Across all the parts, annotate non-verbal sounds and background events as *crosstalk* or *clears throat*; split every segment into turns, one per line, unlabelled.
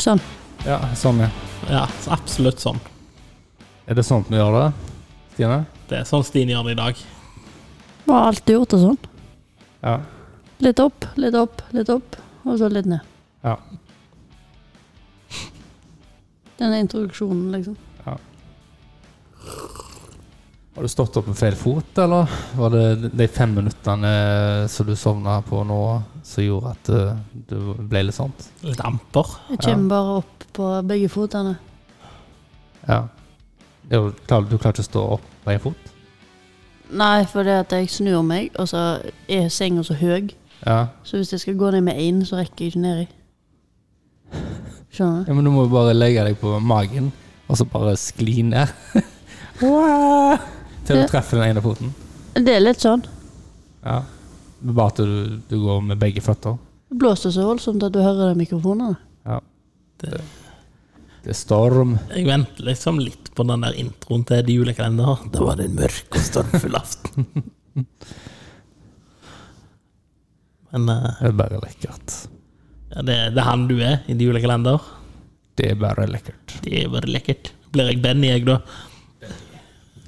Sånn.
Ja, sånn, ja.
Ja, så absolutt sånn.
Er det sånn vi gjør det, Stine?
Det er sånn Stine gjør det i dag.
Var alltid gjort det sånn.
Ja.
Litt opp, litt opp, litt opp, og så litt ned.
Ja.
Denne introduksjonen, liksom.
Har du stått opp med feil fot, eller var det de fem minuttene eh, som du sovna på nå, som gjorde at eh, du ble litt sånn?
Litt amper.
Jeg kommer bare opp på begge fotene.
Ja. Det er jo klar- Du klarer ikke å stå opp på én fot?
Nei, for det at jeg snur meg, og så er senga så høy.
Ja.
Så hvis jeg skal gå ned med én, så rekker jeg ikke nedi. Skjønner du?
Ja, men du må jo bare legge deg på magen, og så bare skli ned. *laughs* Til du
Ja.
treffer den ene foten.
Det er litt sånn.
Ja. Men Bare at du, du går med begge føtter.
Det blåser så voldsomt at du hører de mikrofonene.
Ja.
Det,
Det er storm.
jeg venter liksom litt på den der introen til de julekalender. Da var det en mørk og stormfull aften. Men eh,
Det er bare lekkert.
ja, det, det er han du er i de julekalender.
Det er bare lekkert.
Det er bare lekkert. Blir jeg Benny, jeg, da?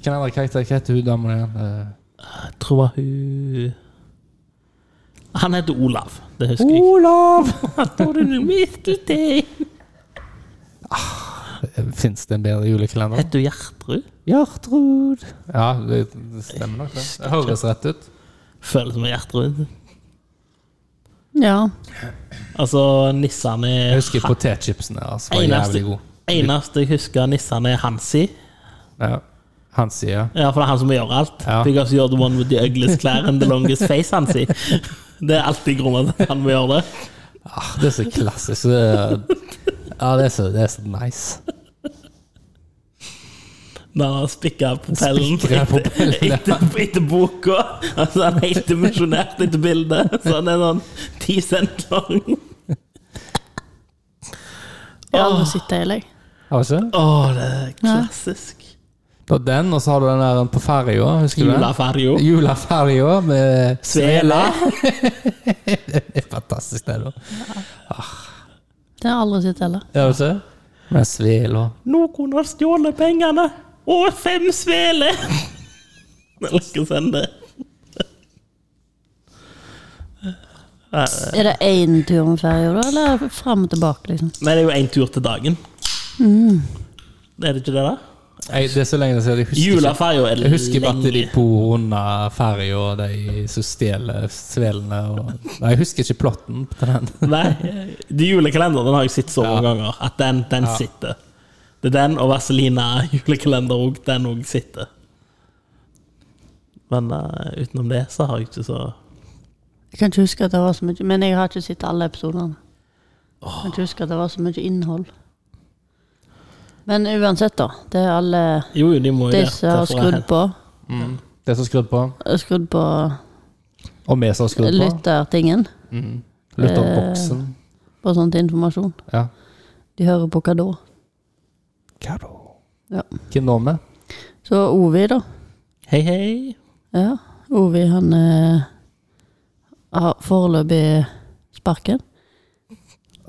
Hvem andre karakter hva heter hun damen igjen? Eh,
Jeg tror hun Han heter Olav, det husker jeg.
Olav!
Tror du du mistet deg?
*laughs* Fins det en bedre julekalender?
Heter hun Gjertrud?
Gjertrud. Ja, det, det stemmer nok, det. Det høres rett ut.
Føles som Gjertrud.
Ja.
Altså, nissene
Jeg
er
husker potetchipsen deres var
Eneste,
jævlig god.
eneste jeg husker av nissene, er Hansi.
Ja. Han sier
Ja, for det er han som gjør alt.
Ja.
Because you're the one with the ugliest clear and the longest face, Hansi. Det er alltid grunnen til at han må gjøre det.
ah, Det er så klassisk. Det er, ja, det er så, det er så nice.
Når han har spikka propellen
Spikret propellen,
etter, etter, etter boka. Altså, han er helt dimensjonert etter bildet, så han er sånn ti cent lang.
Jeg har aldri sett det heller.
Har du ikke?
Å, det er klassisk.
Du har den, og så har du den der på ferja. Husker du den?
Juleferja.
Juleferja med
Svele.
Det er fantastisk, det, da.
Det har jeg aldri sett heller.
Ja, du ser. Med svela.
Noen har stjålet pengene. Og fem sveler! Jeg liker å sende det.
Er det én tur med ferja, da? Eller er det fram og tilbake, liksom?
Men det er jo én tur til dagen. Er det ikke det, da?
Nei, Det er så lenge siden jeg husker Mm. ikke.
Juleferja er
Jeg husker bare at de
lenge.
bor under ferja, de som stjeler svelene og Nei, jeg husker ikke plotten på den.
*laughs* Nei, de julekalenderen den har jeg sett så mange ganger at den, den sitter. Det er den og Vaselina julekalender òg. Den òg sitter. Men eh, utenom det så har jeg ikke så
Jeg kan ikke huske at det var så mye Men jeg har ikke sett alle episodene. Jeg kan ikke huske at det var så mye innhold. Men uansett, da. Det er alle
Jo, jo, de må jo
de
det,
som har
derfor er
skrudd
jeg-
på,
*laughs* Det som er skrudd på,
skrudd på
og vi som har skrudd på.
lyttertingen eh,
Lytterboksen.
på sånn informasjon.
Ja.
De hører på hva da?
Hva da?
Ja.
Hvem da med?
Så Ovi, da.
Hei, hei.
Ja, Ovi han eh, har foreløpig sparken.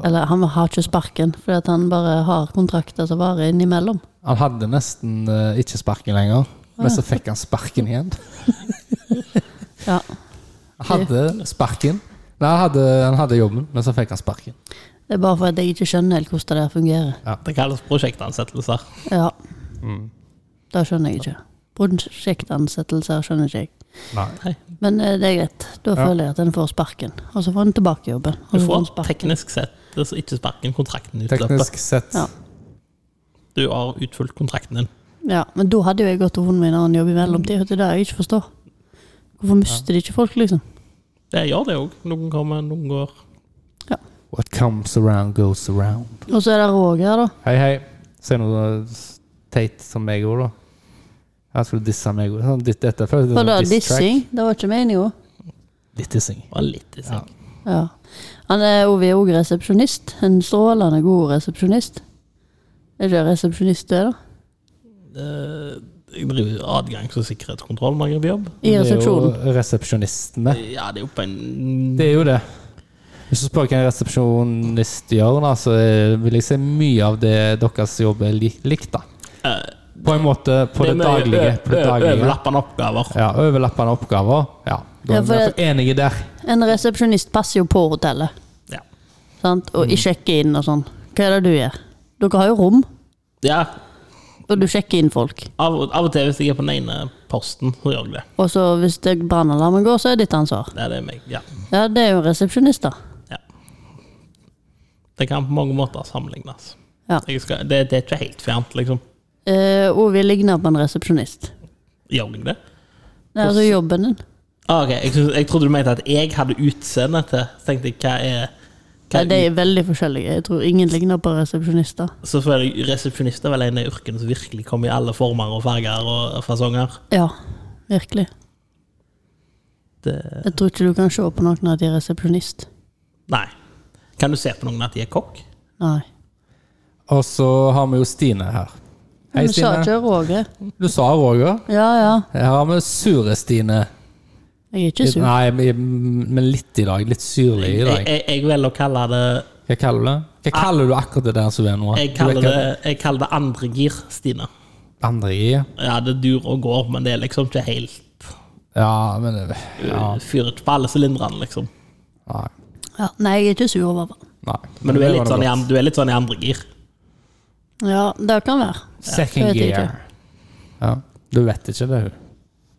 Eller han har ikke sparken, fordi at han bare har kontrakter som varer innimellom.
Han hadde nesten eh, ikke sparken lenger, men så fikk han sparken igjen.
Ja,
Han hadde sparken. Nei, han hadde, han hadde jobben, men så fikk han sparken.
Det er bare for at jeg ikke skjønner helt hvordan det der fungerer.
Det kalles prosjektansettelser.
Ja.
Mm.
Det skjønner jeg ikke. Prosjektansettelser skjønner ikke jeg.
Nei.
Men eh, det er greit. Da føler jeg at en får sparken. Og så får en tilbake jobben. Og
Du
så får en
får
sparken.
teknisk sett altså ikke sparken, kontrakten utløper.
Teknisk sett.
Ja.
Du har utfylt kontrakten din.
Ja, men da hadde jo jeg gått og funnet meg en annen jobb i mellomtida. Det er det jeg ikke forstår. Hvorfor mister de ikke folk, liksom?
Det gjør det òg. Noen kommer, noen går.
What comes around goes around.
Og så er det Roger, da.
Hei, hei. Si noe s- teit som meg òg, da. Jeg skulle disse meg òg. Sånn, ditt dette føles
For det
som
er
diss track.
dissing. Det var ikke meninga.
Litt dissing.
Det var litt i seng.
Ja. Han er Ovi er òg resepsjonist. En strålende god resepsjonist. Er ikke det resepsjonist du er, da?
Jeg driver adgangs- og sikkerhetskontroll når jeg er på jobb.
I
Det er jo
resepsjonen.
resepsjonistene.
Ja, det er jo på en
Det er jo det. Hvis du spør hva en resepsjonist gjør, da, så er- vil jeg si mye av det deres jobb er li- likt. da.
Eh,
På en måte på det,
er mye
daglige. På
ø-
det
ø-
daglige.
Overlappende oppgaver.
Ja, Overlappende oppgaver. Ja, da
Ja,
er vi
for
i
det-
hvert fall enige der.
En resepsjonist passer jo på hotellet,
Ja.
sant? og i sjekker inn og sånn. Hva er det du gjør? Dere har jo rom,
ja
og du sjekker inn folk.
av, av og til hvis jeg er på den ene posten, så gjør jeg det.
Og så hvis det brannalarmen går, så er det ditt ansvar.
Ja, det er meg. Ja.
Ja, det er jo resepsjonist, da.
ja. Det kan på mange måter sammenlignes.
Ja.
Jeg skal, det, det er ikke helt fjernt, liksom.
Eh, Ovi ligner på en resepsjonist.
Gjør jeg det?
Det er altså jobben din.
Ah, ok, jeg, synes, jeg trodde du mente at jeg hadde utseende til Så tenkte jeg, hva er,
Ja,
hva er
de er veldig forskjellige. Jeg tror ingen ligner på resepsjonister.
Så føler jeg resepsjonist er vel en av yrkene som virkelig kommer i alle former og farger og fasonger.
Ja, virkelig.
Det,
Jeg tror ikke du kan se på noen at de er resepsjonist.
nei. Kan du se på noen at de er kokk?
Nei.
Og så har vi jo Stine her. Hei,
Men sa
Stine.
ikke Roger.
Du sa Roger.
Ja, ja.
Her har vi Sure-Stine.
Jeg er ikke sur.
Nei, men litt i dag. Litt syrlig i
Jeg,
dag.
jeg, jeg velger å kalle det
Hva kaller du det? Hva kaller du akkurat det der som er nå?
Jeg kaller det, jeg kaller det andre gir, Stine.
Andre i?
Ja, det dur og går, men det er liksom ikke helt
Ja, men det- ja.
Fyrer ikke på alle sylinderne, liksom.
Nei.
Ja, nei, jeg er ikke sur over det.
Nei.
Men du er,
det var
litt
det
sånn i,
godt.
an- du er litt sånn i andre gir.
Ja, det kan være.
Second
Jeg vet ikke.
gear. Ja. Du vet ikke det, hun.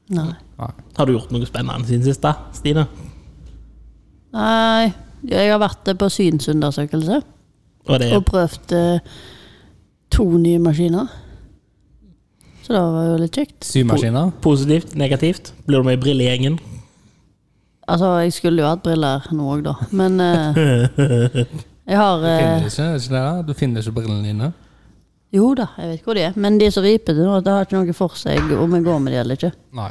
Nei.
Har du gjort noe spennende siden sist, da, Stine?
nei. Jeg har vært på synsundersøkelse
Og det,
og prøvd eh, to nye maskiner. Så det var jo litt kjekt.
Symaskiner?
Positivt? Negativt? Blir du med i brillegjengen?
Altså, jeg skulle jo hatt briller nå òg, da. Men eh, jeg har eh,
Finner *laughs* du ikke, ikke det da? Du finner ikke brillene dine?
Jo da, jeg vet hvor de er. Men de som riper til nå, det har ikke noe for seg om jeg går med de eller ikke.
Nei.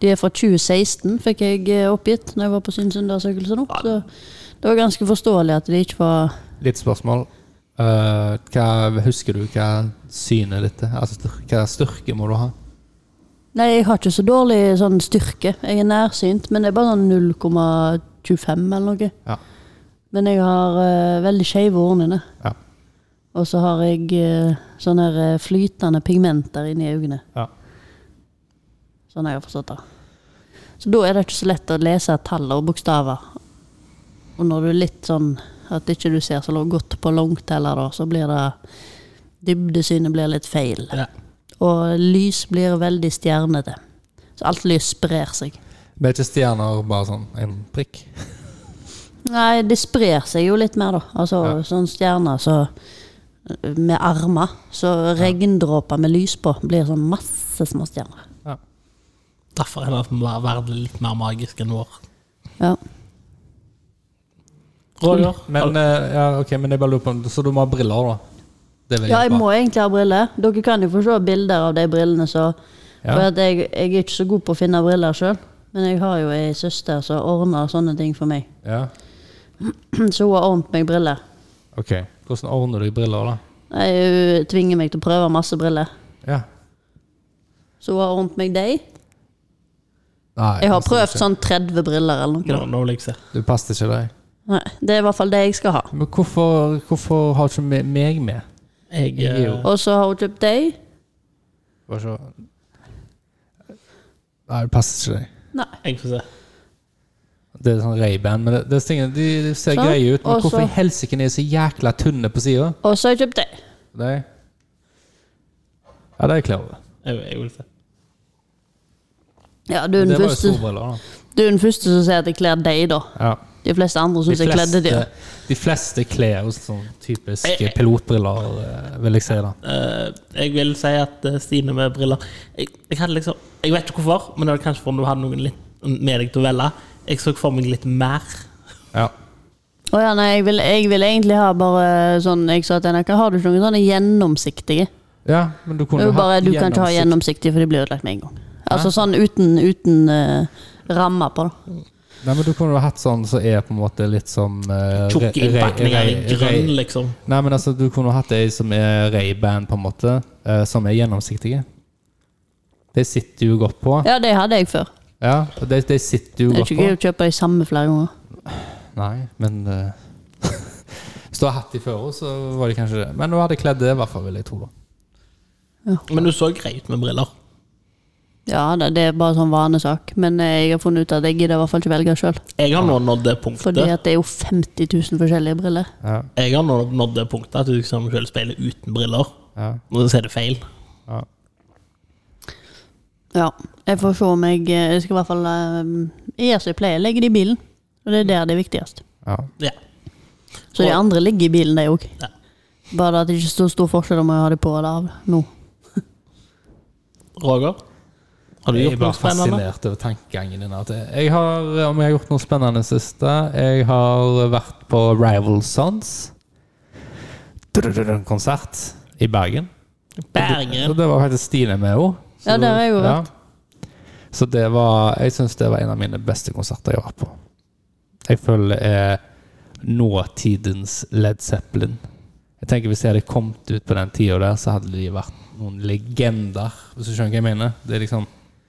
De er fra 2016, fikk jeg eh, oppgitt når jeg var på synsundersøkelse nå. Så det var ganske forståelig at de ikke var
Litt spørsmål. Eh, hva, husker du hva synet ditt er? Altså, styr- hva styrke må du ha?
Nei, jeg har ikke så dårlig sånn styrke. Jeg er nærsynt, men det er bare sånn 0,25 eller noe.
Ja.
Men jeg har eh, veldig skeive hornene.
Ja.
Og så har jeg eh, sånne her, eh, flytende pigmenter inni øynene.
Ja.
Sånn har jeg forstått det. Så da er det ikke så lett å lese tall og bokstaver. Og når du er litt sånn at ikke du ser så godt på langt heller, da, så blir det Dybdesynet blir litt feil.
Ja.
Og lys blir veldig stjernete. Så alt lys sprer seg.
Vi er ikke stjerner, bare sånn en prikk.
Nei, det sprer seg jo litt mer, da. Altså sånn stjerner så eh, med armer. Så regndråper med lys på blir sånn masse små stjerner.
Ja.
Derfor er det at verden er litt mer magisk enn vår.
Ja.
Roger?
Men, eh, ja, ok, men jeg bare lurer på om- Så du må ha briller, da? Det vil
Ja, jeg
hjelpe.
må egentlig ha briller. Dere kan jo få se bilder av de brillene. Så,
Ja.
For at jeg, jeg er ikke så god på å finne briller sjøl, men jeg har jo ei søster som ordner sånne ting for meg. *clears throat*
Ja.
Så hun har ordnet meg briller.
Ok. Hvordan ordner du briller, da?
Nei, Hun tvinger meg til å prøve masse briller.
Ja.
Så hun har ordnet meg de.
Nei,
Jeg har
passer
prøvd
ikke.
sånn 30 briller eller noe.
Nå, nå vil jeg se.
Du passer ikke deg.
Nei, det er i hvert fall det jeg skal ha.
Men hvorfor, hvorfor har ikke me- meg med?
Jeg,
Jeg er jo-
eh,
Og så har hun kjøpt de.
Bare så Nei, det passer ikke deg.
Nei.
jeg får se.
Det er sånn Ray-band, men det, det er tingene, de, de ser
Sånn,
greie ut. Men
og så-
hvorfor i helsike er de så jækla tynne på sida?
Og så har jeg kjøpt de.
Ja, det er jeg klar over.
Jeg, jeg vil se.
Ja, du er den
Men Det var jo
første,
solbriller, da.
du er den første som sier at jeg kler de, da.
Ja.
De fleste andre
De,
syns jeg kledde de. eh.
fleste, de fleste kler jo sånn typisk
Jeg-
pilotbriller, eh, vil jeg si. da
Eh, jeg vil si at eh, Stine med briller jeg, jeg hadde liksom Jeg vet ikke hvorfor, men det var kanskje fordi du hadde noen litt med deg til å velge. Jeg så for meg litt mer.
Ja.
Å ja, nei, jeg vil, jeg vil egentlig ha bare sånn Jeg sa til henne "Hva, Har du ikke noen sånne gjennomsiktige?
ja, men du
Det
kunne
er jo bare,
hatt
du kan ikke ha
gjennomsikt.
gjennomsiktige, for de blir ødelagt med en gang. Altså sånn uten, uten eh, rammer på, da.
Nei, men Du kunne jo hatt sånn som er på en måte litt som eh,
Tjukke
Ray- Ray-
innpakninger i
Ray-
grønn,
Ray-
liksom.
Nei, men altså, Du kunne hatt ei som er Ray-band, på en måte, eh, som er gjennomsiktige. De sitter jo godt på.
Ja, det hadde jeg før.
Ja, og de, de sitter jo
Det er
godt
ikke
på.
gøy å kjøpe de samme flere ganger.
Nei, men eh, *laughs* Hvis du har hatt de før, så var det kanskje det. Men nå hadde jeg kledd det, i hvert fall, vil jeg tro. da.
Men du så grei ut med briller.
Ja, det, det er bare sånn vanesak. Men eh, jeg har funnet ut at jeg gidder i hvert fall ikke velge sjøl.
Jeg har nå nådd det
Fordi
punktet
at det er jo 50 000 forskjellige briller.
Ja,
Jeg har nå nådd det punktet at du liksom selv speiler uten briller.
ja,
Og så er det feil.
ja.
Ja. Jeg får se om jeg eh, Jeg skal i hvert fall eh, gjøre som jeg pleier, legge det i bilen. Og det er der det er viktigst.
ja.
Ja.
Så de
Og-
andre ligger i bilen, de òg.
Ja.
Bare at det ikke er så stor forskjell om jeg har de på eller av nå.
Roger? Har du
Jeg er
gjort
bare
noe spennende?
fascinert over tankegangen din. At jeg har, om jeg har gjort noe spennende siste Jeg har vært på Rival Sons. Konsert i Bergen. Så
Bergen.
det var faktisk Stine med henne.
Ja, der har jeg jo vært.
Så det var Jeg syns det var en av mine beste konserter jeg var på. Jeg føler det er nåtidens Led Zeppelin. Jeg tenker Hvis de hadde kommet ut på den tida der, så hadde de vært noen legender. Hvis du skjønner hva jeg mener? Det er liksom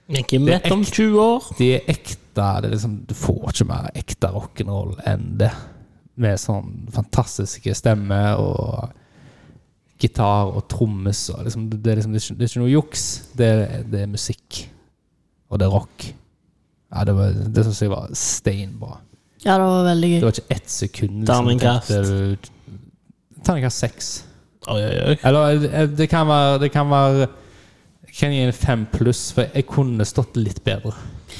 Men ikke
Det er
møtt om 20 år.
de er ekte. Det er liksom, du får ikke mer ekte rock'n'roll enn det. Med sånn fantastiske stemmer og gitar og trommes. Og liksom, det, er liksom, det, er ikke, det er ikke noe juks. Det er, det er musikk. Og det er rock. Ja, det var- det syns jeg var steinbra.
Ja, det var veldig
Det
gøy.
var ikke ett sekund.
Terningkast.
tenkte du- Terningkast seks.
Oi, oi, oi.
Eller eh, det kan være Det kan være jeg kan gi en fem pluss, for jeg kunne stått litt bedre.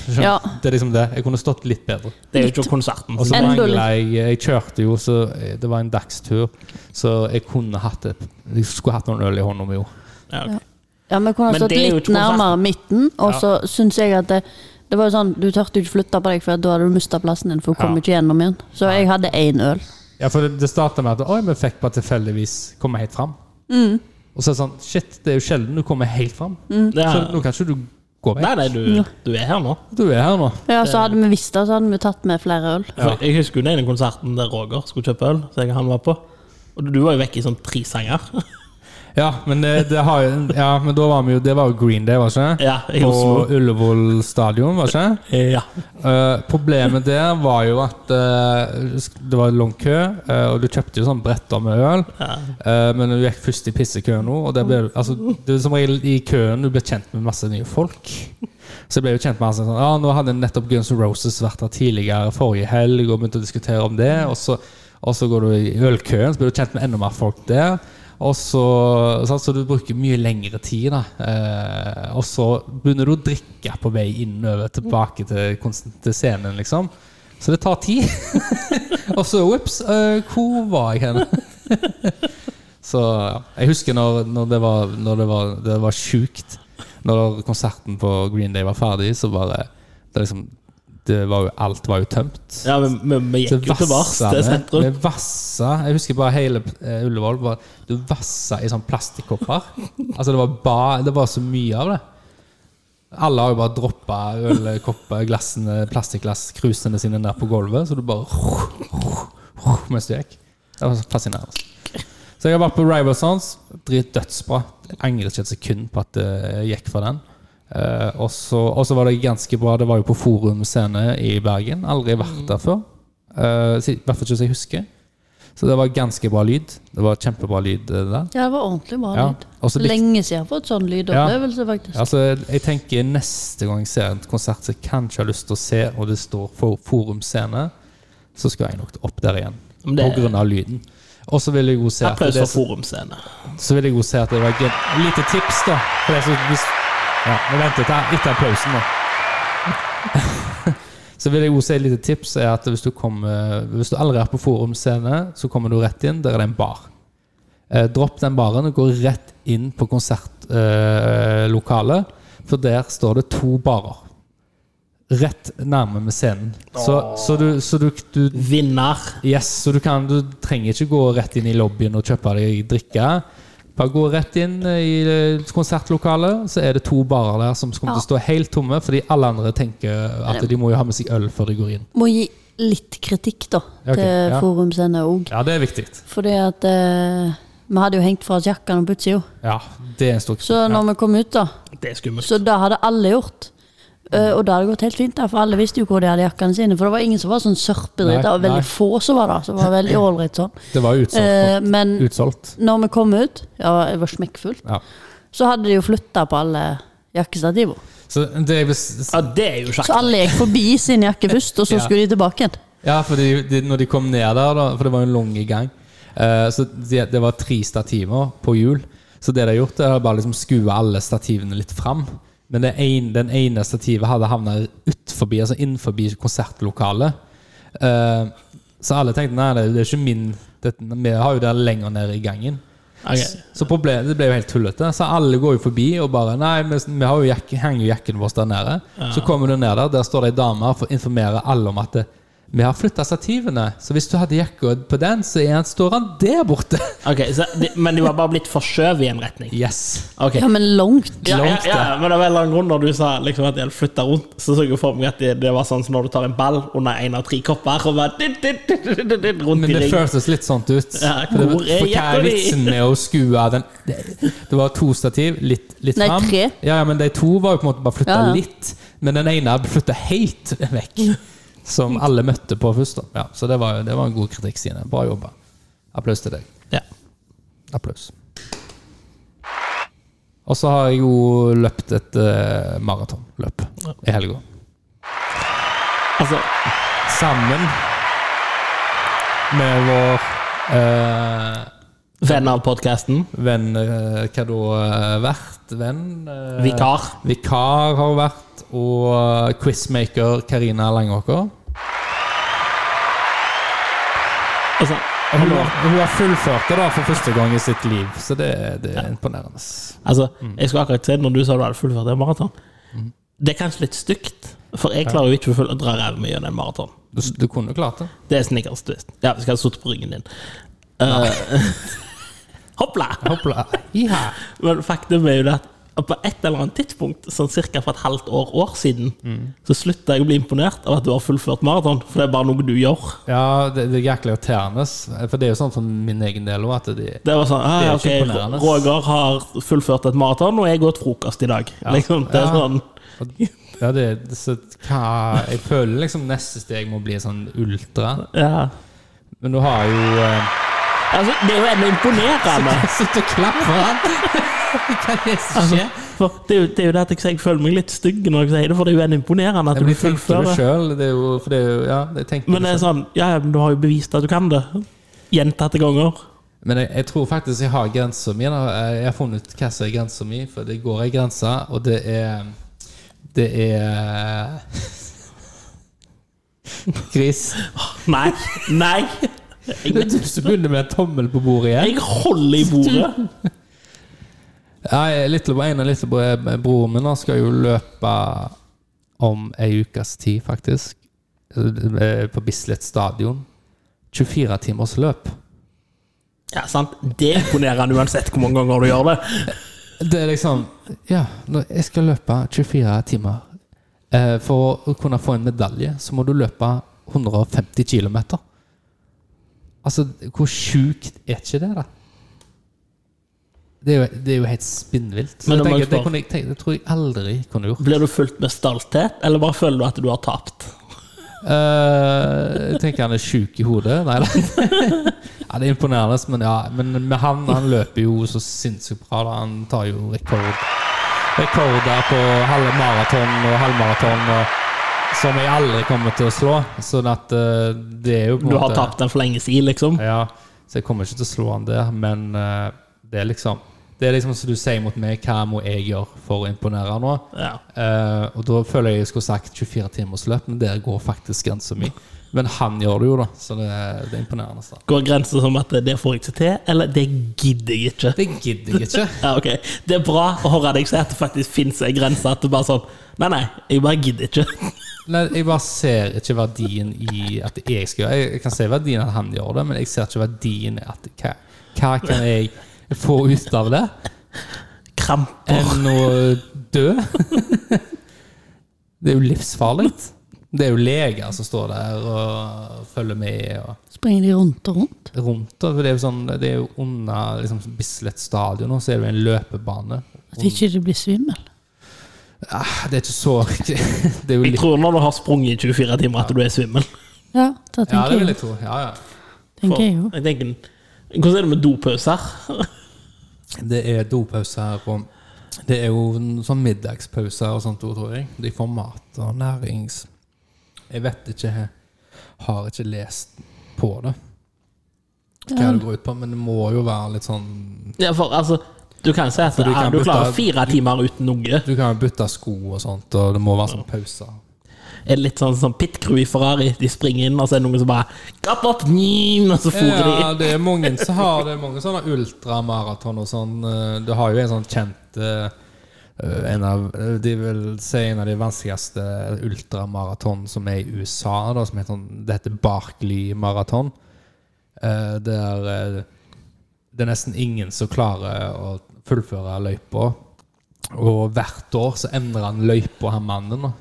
Skjønner?
Ja.
Det er liksom det. Jeg kunne stått litt bedre.
Det er jo ikke konserten.
Og så
Enda
mangla jeg eh, Jeg kjørte jo, så eh, det var en dagstur. Så jeg kunne hatt et Jeg skulle hatt noen øl i hånda mi, jo.
Ja, ok.
Ja, Vi kunne ha
Men
stått
det er jo
litt
ikke konsert.
nærmere midten, og så syns jeg at det, det var jo sånn, Du turte jo ikke flytte på deg, for da hadde du mista plassen din. For å komme
Ja.
ikke gjennom igjen Så jeg hadde én øl.
Ja, for det, det starta med at Oi, vi fikk bare tilfeldigvis komme helt fram. Og så er det sånn Shit, det er jo sjelden du kommer helt fram.
Det
Så
er,
nå kan ikke du gå vekk.
nei, nei, du, du er her nå.
Du er her nå.
Ja, Så hadde vi visst det, så hadde vi tatt med flere øl.
For Jeg husker jo den ene konserten der Roger skulle kjøpe øl, som jeg og han var på. Og du var jo vekke i sånn tre sanger.
Ja, men det, det har jo Ja, men da var vi jo Det var jo Green Day, var det ikke?
Ja, i Oslo.
På Ullevål stadion, var det ikke?
*laughs* Ja.
Eh, problemet der var jo at eh, det var lang kø, eh, og du kjøpte jo sånn bretter med øl. Eh, men du gikk først i pissekøen nå, og det, ble, altså, det er som regel i køen du blir kjent med masse nye folk. Så jeg ble jo kjent med han som sånn Ja, nå hadde nettopp Guns N' Roses vært her tidligere forrige helg og begynte å diskutere om det, og så, og så går du i ølkøen, så blir du kjent med enda mer folk der. Og så, sant, så du bruker mye lengre tid, da. Eh, og så begynner du å drikke på vei innover tilbake til, kons- til scenen, liksom. Så det tar tid. *laughs* og så ops, eh, hvor var jeg hen? Så ja. jeg husker når, når det var, når det var, det var sjukt. Når konserten på Green Day var ferdig, så bare det liksom, det var jo, Alt var jo tømt.
ja vi, vi, vi
Det
gikk jo til Vars,
vasset
til
med-
sentrum.
Det vassa Jeg husker bare hele eh, Ullevål. Bare, du vassa i sånn plastikkopper.
*laughs*
altså, det var, ba, det var så mye av det. Alle har jo bare droppa ølkopper, glassene, plastikkglass, krusene sine ned på gulvet, så du bare *laughs* Mens du gikk. Det var så fascinerende. Så jeg har vært på Rival Sons. Drit dødsbra. Jeg angrer ikke et sekund på at jeg gikk for den. Eh, og så og så var det ganske bra. Det var jo på Forum scene i Bergen. Aldri vært der før. Eh, si- I hvert fall ikke som jeg husker. Så det var ganske bra lyd. Det var kjempebra lyd eh, der.
Ja, det var ordentlig bra
Ja,
lyd.
og så likte-
Lenge siden jeg har fått sånn lydopplevelse, faktisk.
Altså, jeg tenker neste gang jeg ser en konsert som jeg kanskje har lyst til å se, og det står for Forum scene, så skal jeg nok opp der igjen.
Men det-
På grunn av lyden. Og så vil jeg jo se at
Applaus
det,
for forumscene.
så vil jeg jo se at det var gen... Lite tips, da. For det som, hvis, ja, vi venter til etter pausen, da. *laughs* Så vil jeg jo si et lite tips er at hvis du, kommer, hvis du allerede er på Forum scene, så kommer du rett inn. Der er det en bar. Eh, dropp den baren og gå rett inn på konsertlokalet. Eh, lokalet, for der står det to barer. Rett nærme med scenen. Så, så, du, så du, du
Vinner.
Yes, så du, kan, du trenger ikke gå rett inn i lobbyen og kjøpe deg drikke. Bare gå rett inn i eh, konsertlokalet, så er det to barer der som kommer til å stå helt tomme, fordi alle andre tenker at de må jo ha med seg øl før de går inn.
Må gi litt kritikk, da,
Ja, ok,
til
ja.
Forum Sende òg.
Ja, det er viktig.
Fordi at eh, vi hadde jo hengt fra oss jakkene på utsida.
Ja, det er en stor
Så når vi kom ut, da,
Det er skummelt.
så det hadde alle gjort. Eh, og det hadde gått helt fint, da, for alle visste jo hvor de hadde jakkene sine. For det var ingen som var sånn sørpedritt. Det var
Nei, nei.
veldig få som var det. Som var
*clears throat*
veldig ålreit sånn.
Det var utsolgt.
Eh, men
utsolgt.
når vi kom ut, ja, det var smekkfullt,
Ja.
så hadde de jo flytta på alle jakkestativene.
Så det jeg vil s-
Ja, det er jo
Så
sjakk.
alle gikk forbi sin jakke først, og så
*laughs* Ja.
skulle de tilbake igjen.
Ja, for de, de, når de kom ned der, da, for det var jo en lang gang eh, Så de, det var tre stativer på hjul. Så det de har gjort, er å bare liksom skue alle stativene litt fram. Men det en, den ene stativet hadde havna utforbi, altså innenfor konsertlokalet. Eh, så alle tenkte nei, det, det er ikke min det, Vi har jo det lenger ned i gangen.
Ok.
Så problemet, det ble jo helt tullete. Så alle går jo forbi og bare Nei, vi, vi har jo jakke, henger jo jakken vår der nede. Så kommer du ned der, der står det ei dame og informerer alle om at det, vi har flytta stativene. Så hvis du hadde jakka på den, så er han, står han der borte.
Ok, så de, Men de var bare blitt forskjøvet i en retning?
Yes.
Ok.
Ja, men langt.
Ja, ja,
langt,
ja, men det var en eller annen grunn når du sa liksom, at de hadde flytta rundt, så så jeg jo for meg at det, det var sånn som når du tar en ball under en av tre kopper og bare dit, dit, dit, dit, dit, dit, rundt
Men
i
det
ring.
føltes litt sånn ut.
Ja,
For, det,
hvor er
for hva
jakka
er
di?
vitsen med å skue av den det, det var to stativ, litt, litt
Nei,
fram.
tre.
Ja, ja, men de to var jo på en måte bare flytta
Ja, ja.
litt. Men den ene hadde flytta helt vekk. Som alle møtte på først. da. Ja, så det var, det var en god kritikk, Stine. Bra jobba. Applaus til deg.
Ja.
Applaus. Og så har jeg jo løpt et eh, maratonløp i helga.
Altså,
Sammen med vår eh,
venn av podkasten.
venn eh, Hva da? eh, Vert? Venn? eh,
Vikar.
Vikar har hun vært, og eh, quizmaker Karina Langåker.
Altså,
Og Hun har, hun har fullført det da for første gang i sitt liv, så det, det er imponerende.
altså
Mm.
jeg skulle akkurat si når du sa du hadde fullført en maraton Det er kanskje litt stygt, for jeg klarer jo ikke å full- å dra ræva mi gjennom en maraton.
Du, du kunne jo klart det.
Det er snickerstwist. Ja, vi skal ha sittet på ryggen din. *laughs* Uh, Hoppla!
Hoppla. Iha.
Men faktum er jo det at på et eller annet tidspunkt, sånn cirka for et halvt år, år siden,
Mm.
så slutta jeg å bli imponert av at du har fullført maraton, for det er bare noe du gjør.
Ja, det, det er jæklig irriterende. For det er jo sånn for min egen del òg, at de
Det var sånn
Det er
ah,
jo
OK,
ikke imponerende.
Roger har fullført et maraton, og jeg har gått frokost i dag. Liksom, det er
Ja.
sånn
ja, det, så, hva, Jeg føler liksom neste steg må bli sånn ultra.
ja.
Men du har jo eh,
Altså, det er jo ennå *laughs* imponerende.
*laughs* Slutt å klappe for han! *laughs* Hva er det som skjer?
For det, er jo, det er jo det at jeg, sier jeg føler meg litt stygg når jeg sier det, for det er jo ennå imponerende
Men
at du
du tenker det
fullfører.
sjøl. Det er jo for det er jo- Ja, det tenker
Men
du
det er
selv.
sånn Ja, ja, men du har jo bevist at du kan det. Gjentatte ganger.
Men jeg, jeg tror faktisk jeg har grensa mi. da. Jeg har funnet ut hva som er grensa mi, for det går ei grense, og det er Det er *laughs* Gris.
Nei. Nei.
Det er du som begynner med en tommel på bordet igjen.
Jeg holder i bordet.
Nei, lillebror, en av lillebroren min han skal jo løpe om ei ukes tid, faktisk. Eh, På Bislett stadion. 24 timers løp.
Ja, sant. Det er imponerende uansett hvor mange ganger du gjør det.
Det er liksom Ja, når jeg skal løpe 24 timer. Eh, For å kunne få en medalje, så må du løpe 150 km. Altså, hvor sjukt er ikke det, da? Det er jo, det er jo helt spinnvilt. Så
Men
jeg
om jeg
tenker, det,
spør-
kunne jeg, tenke- det tror jeg aldri kunne gjort.
Blir du fulgt med stolthet, eller bare føler du at du har tapt?
Eh, Jeg tenker han er sjuk i hodet. Nei da.
*laughs*
Ja, det er imponerende, men ja. Men med han, han løper jo så sinnssykt bra. Da. Han tar jo rekord rekorder på halve maraton og halvmaraton og, som jeg aldri kommer til å slå. Sånn at eh, det er jo på en
Du har
måte
tapt den for lenge siden, liksom?
Ja, så jeg kommer ikke til å slå han der, men eh, det er liksom Det er liksom som du sier mot meg, hva må jeg gjøre for å imponere nå?
Ja.
Eh, og da føler jeg jeg skulle sagt 24 timers løp, men der går faktisk grensa mi. Men han gjør det jo, da, så det, det er imponerende. altså. Da.
Går grensa som at det får jeg ikke til, eller det gidder jeg ikke?
Det gidder jeg ikke.
Ja, ok. Det er bra å høre deg si at det faktisk fins en grense. At du bare sånn Nei, nei, jeg bare gidder ikke.
Nei, jeg bare ser ikke verdien i at jeg skal gjøre Jeg kan se verdien at han gjør det, men jeg ser ikke verdien i at hva, hva kan jeg få ut av det
Kramper.
enn å dø? Det er jo livsfarlig. Det er jo leger som står der og følger med. og
Springer de rundt og rundt?
rundt. Da. For det er jo sånn, det er jo under liksom, Bislett stadion, og så er det jo en løpebane.
At ikke de blir svimmel?
Eh, ah, Det er ikke så *laughs* Det er jo
Jeg
litt
tror når du har sprunget i 24 timer, at du er svimmel.
Ja, det
Ja, det
tenker
vil
jeg
jeg tro. Ja, ja.
tenker jeg jo.
Jeg tenker, hvordan er det med dopauser?
Det er dopauser og det er jo en sånn middagspauser og sånt, også, tror jeg. De får mat og nærings... Jeg vet ikke jeg Har ikke lest på det. Hva det går ut på, men det må jo være litt sånn
Ja, for altså, du kan si at
For du
du,
kan
du klarer
bytte-
fire timer uten noe.
Du kan jo bytte sko og sånt, og det må være sånn pauser.
Er det litt sånn som pit crew i Ferrari. De springer inn, og så er det noen som bare «Gapp opp, njim», Og så fôrer de.
Ja, det er mange som har det er mange sånne ultramaraton og sånn. eh, Du har jo en sånn kjent eh, en av, eh, De vil si en av de vanskeligste ultramaraton som er i USA, da, som heter sånn, det heter Barkley maraton. Eh, Der eh, det er nesten ingen som klarer å fullføre løypa. Og hvert år så endrer han løypa, han mannen. da.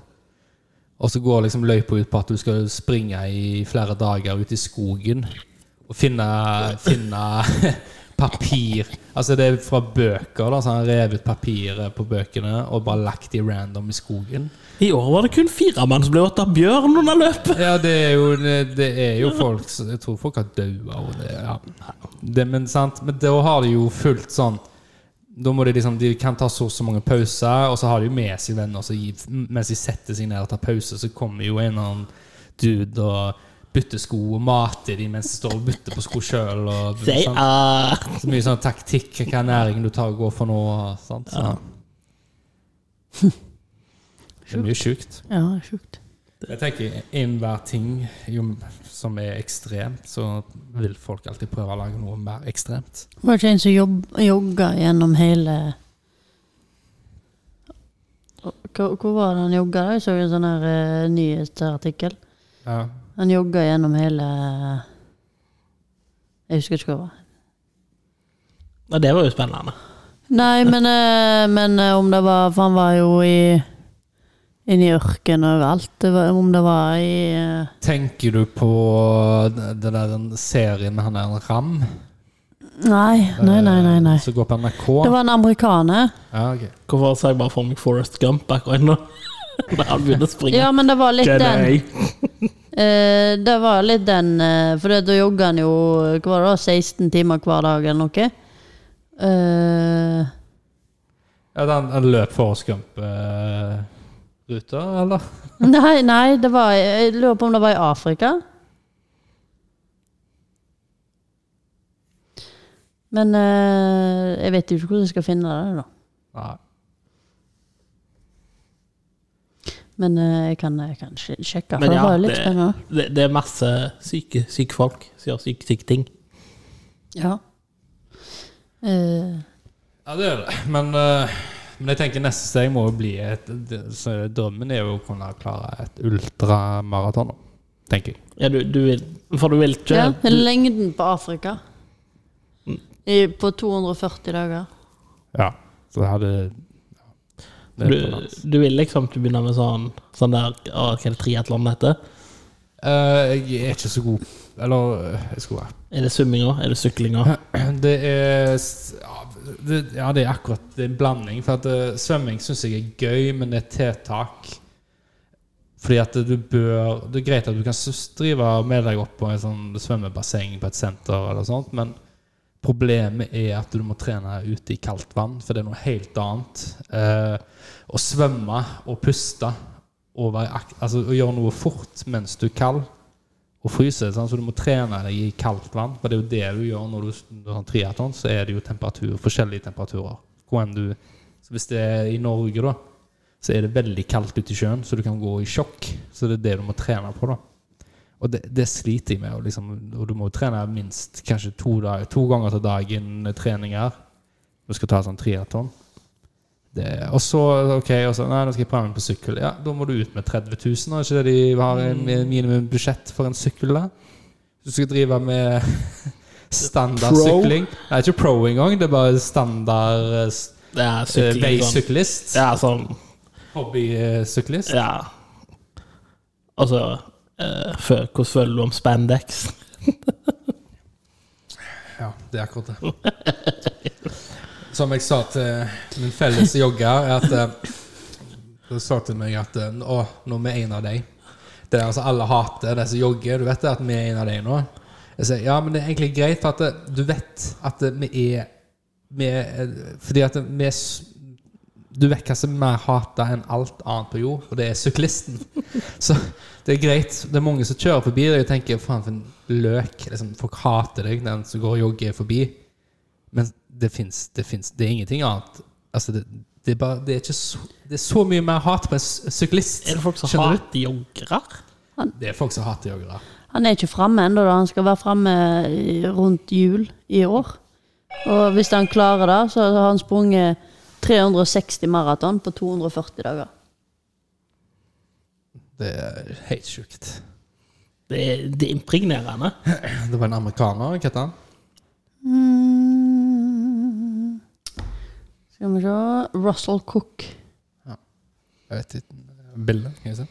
Og så går liksom løypa ut på at du skal springe i flere dager ute i skogen og finne, finne *laughs* papir Altså det er fra bøker, da, så han rev ut papiret på bøkene og bare lagt de random i skogen.
I år var det kun fire mann som ble åt av bjørn under løpet.
Ja, det er jo, det det er jo folk som- Jeg tror folk har daua og det, ja. det Men sant, men da har de jo fullt sånn Da må de liksom De kan ta så og så mange pauser, og så har de jo med seg venner, så gi- mens de setter seg ned og tar pause, så kommer jo en eller annen dude og bytter sko og mater de mens de står og bytter på sko sjøl. Og
They
sant?
are
så mye sånn taktikk, hva næring du tar og går for nå. Sant? Så. Det er mye sjukt.
Ja, det er sjukt.
Jeg tenker enhver ting jo, som er ekstremt, så vil folk alltid prøve å lage noe mer ekstremt.
Var det ikke en som jobb, jogga gjennom hele Hvor, hvor var det han jogga? da? Jeg så en sånn her eh, nyhetsartikkel.
Ja.
Han jogga gjennom hele Jeg husker ikke hva det var.
Ja, det var jo spennende.
Nei, men, eh, men eh, om det var For han var jo i Inne i ørkenen og overalt. Det var, om det var i eh,
Tenker du på den der den serien med han der en ram?
Nei, nei, nei, nei. nei.
eh, Som går på NRK?
Det var en amerikaner.
Ja, ok.
Hvorfor sa jeg bare for meg Forrest Gump akkurat nå? *laughs* Da han begynte å springe.
Ja, men det var litt den.
Jedi.
Eh, det var litt den eh, For det- da jogga han jo eh, hva var det da, 16 timer hver dag eller noe. Eh, *laughs*
Ja, den, den løp for Skump-ruta, eller?
nei, nei, det var Jeg lurer på om det var i Afrika. Men eh, jeg vet jo ikke hvordan jeg skal finne det, da.
Nei.
Men eh, jeg kan, jeg kan sj- sjekke, for
Men
det
ja,
var jo litt
det-
spennende.
Det, det er masse syke, syke folk som gjør syke, syke ting.
Ja. Eh,
Ja, det er det. Men, eh, men jeg tenker neste steg må jo bli et det- så Drømmen er jo å kunne klare et ultramaraton, da, tenker jeg.
Ja, du, du vil, for du vil ikke
ja,
du, Mm.
lengden på Afrika. I, på 240 dager.
Ja. Så jeg hadde ja.
du, du vil liksom ikke begynne med sånn, sånn der å, Hva er det triatlon heter?
Eh, Jeg er ikke så god Eller eh, jeg skulle være
Er det svømminga? Er det syklinga?
*clears throat* Det er s- ja, det, ja, det er akkurat det er en blanding. For at eh, svømming syns jeg er gøy, men det er tiltak. Fordi at du bør Det er greit at du kan s- drive med deg opp på en sånn svømmebasseng på et senter, eller sånt, men problemet er at du må trene ute i kaldt vann, for det er noe helt annet. Eh, å svømme og puste og, være akt, altså, å gjøre noe fort mens du er kald og fryser, sant? så du må trene deg i kaldt vann. For det er jo det du gjør når du s- når du har triatlon, så er det jo temperatur, forskjellige temperaturer. Hvor enn du, så hvis det er i Norge, da, så er det veldig kaldt ute i sjøen, så du kan gå i sjokk. Så det er det du må trene på, da. Og det, det sliter jeg med. Og, liksom, og du må jo trene minst kanskje to, dag, to ganger til dagen eh, treninger. Du skal ta sånn triatlon. Det- Og så ok, og så, nei, nå skal jeg prøve meg på sykkel. Ja, Da må du ut med 30 000. Er ikke det de har en
Mm.
minimum budsjett for en sykkel? da? Du skal drive med *laughs* standardsykling. Det er ikke pro engang, det er bare standard eh, s-
Det er
eh,
sykling. sånn.
veisyklist.
Ja, sånn
Hobbysyklist.
Ja. Altså eh, fø- Hvordan føler du om spandex?
Ja, det er akkurat det. Som jeg sa til min felles jogger, er at eh, som sa til meg at eh, Å, nå er vi en av deg. Det er altså Alle hater de som jogger. Du vet det at vi er en av deg nå? Jeg sier ja, men det er egentlig greit, for at eh, du vet at eh, vi er vi er, eh, Fordi at vi er s- du vet hva som er mer hata enn alt annet på jord, og det er syklisten. *laughs* Så det er greit. Det er mange som kjører forbi deg og tenker 'faen, for en løk'. Liksom, folk hater deg, den som går og jogger forbi. Men det fins det, finnes- det er ingenting annet. Altså, det, det, er bare, det, er ikke så, det er så mye mer hat på en s- syklist.
Er det folk som
Skjønner du?
hater joggere?
Det er folk som hater joggere.
Han er ikke framme ennå, da. Han skal være framme rundt jul i år. Og hvis han klarer det, så har han sprunget 360 maraton på 240 dager.
Det er helt sjukt.
Det er, det er impregnerende.
Det var en amerikaner, hva het han?
Mm. Skal vi se Russell Cook.
Jeg vet ikke. Bildet, kan jeg se.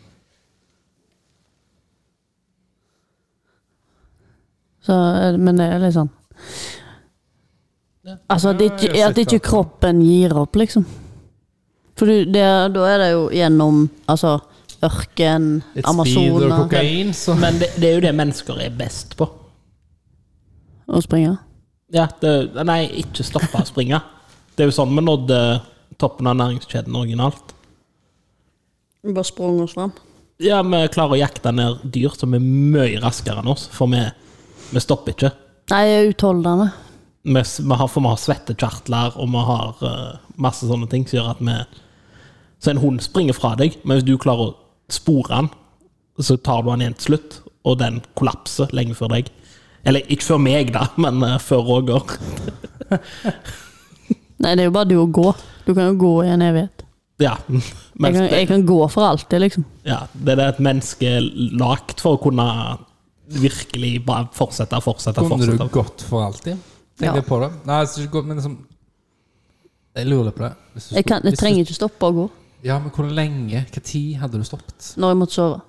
Så, eh, men det er litt sånn
Ja.
Altså at ikke, at ikke kroppen gir opp, liksom. For du, det, da er det jo gjennom altså, ørken,
Litt speed og
Amazonas
kokain, så
Men det, det er jo det mennesker er best på.
og springe.
Ja, det, nei, ikke stoppe å springe. Det er jo sånn vi nådde toppen av næringskjeden originalt.
Bare sprang oss fram.
Ja, vi klarer å jakte ned dyr som er mye raskere enn oss, for vi, vi stopper ikke.
Nei, jeg er utholdende.
Vi, s- vi har, for vi har svettekjertler, og vi har eh, masse sånne ting som gjør at vi Så en hund springer fra deg, men hvis du klarer å spore han, så tar du han igjen til slutt, og den kollapser lenge før deg. Eller ikke før meg, da, *laughs* men eh, før Roger.
Nei, det er jo bare du å gå. Du kan jo gå i en evighet.
Ja. *laughs*
Jeg
mens
kan,
det-
jeg kan gå for alltid, liksom.
Ja, det er det et menneske er lagt for å kunne virkelig bare fortsette, fortsette,
Kunne du
fortsette.
gått for alltid?
Ja.
Tenk litt på det. Nei, altså, ikke gått, men liksom Jeg lurer litt på det. Hvis du
Jeg, kan, jeg
skulle- hvis du-
trenger ikke stoppe å gå
Ja, men hvor lenge? Hva tid hadde du stoppet?
når jeg måtte sove.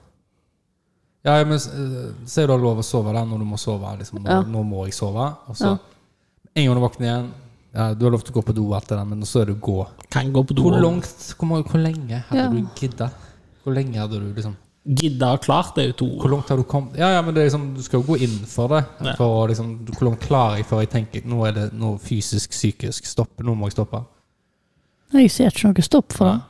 Ja, ja, men eh, Sier du har lov å sove der når du må sove. Liksom, nå,
Ja.
nå må jeg sove. Og så
Ja.
en gang du våkner igjen ja, Du har lov til å gå på do, og alt det der, men så er det å gå.
Kan gå på do
Hvor
og
langt Hvor, mange- hvor lenge hadde
Ja.
du gidda? Hvor lenge hadde du liksom
gidde og klart, det er jo to
Hvor langt har du kommet? Ja, ja, men det er liksom, du skal jo gå inn for det.
Ja.
For å liksom, hvor langt klarer jeg før jeg tenker nå er det noe fysisk, psykisk stopp? Nå må jeg stoppe.
Nei, Jeg ser ikke noe stopp for det.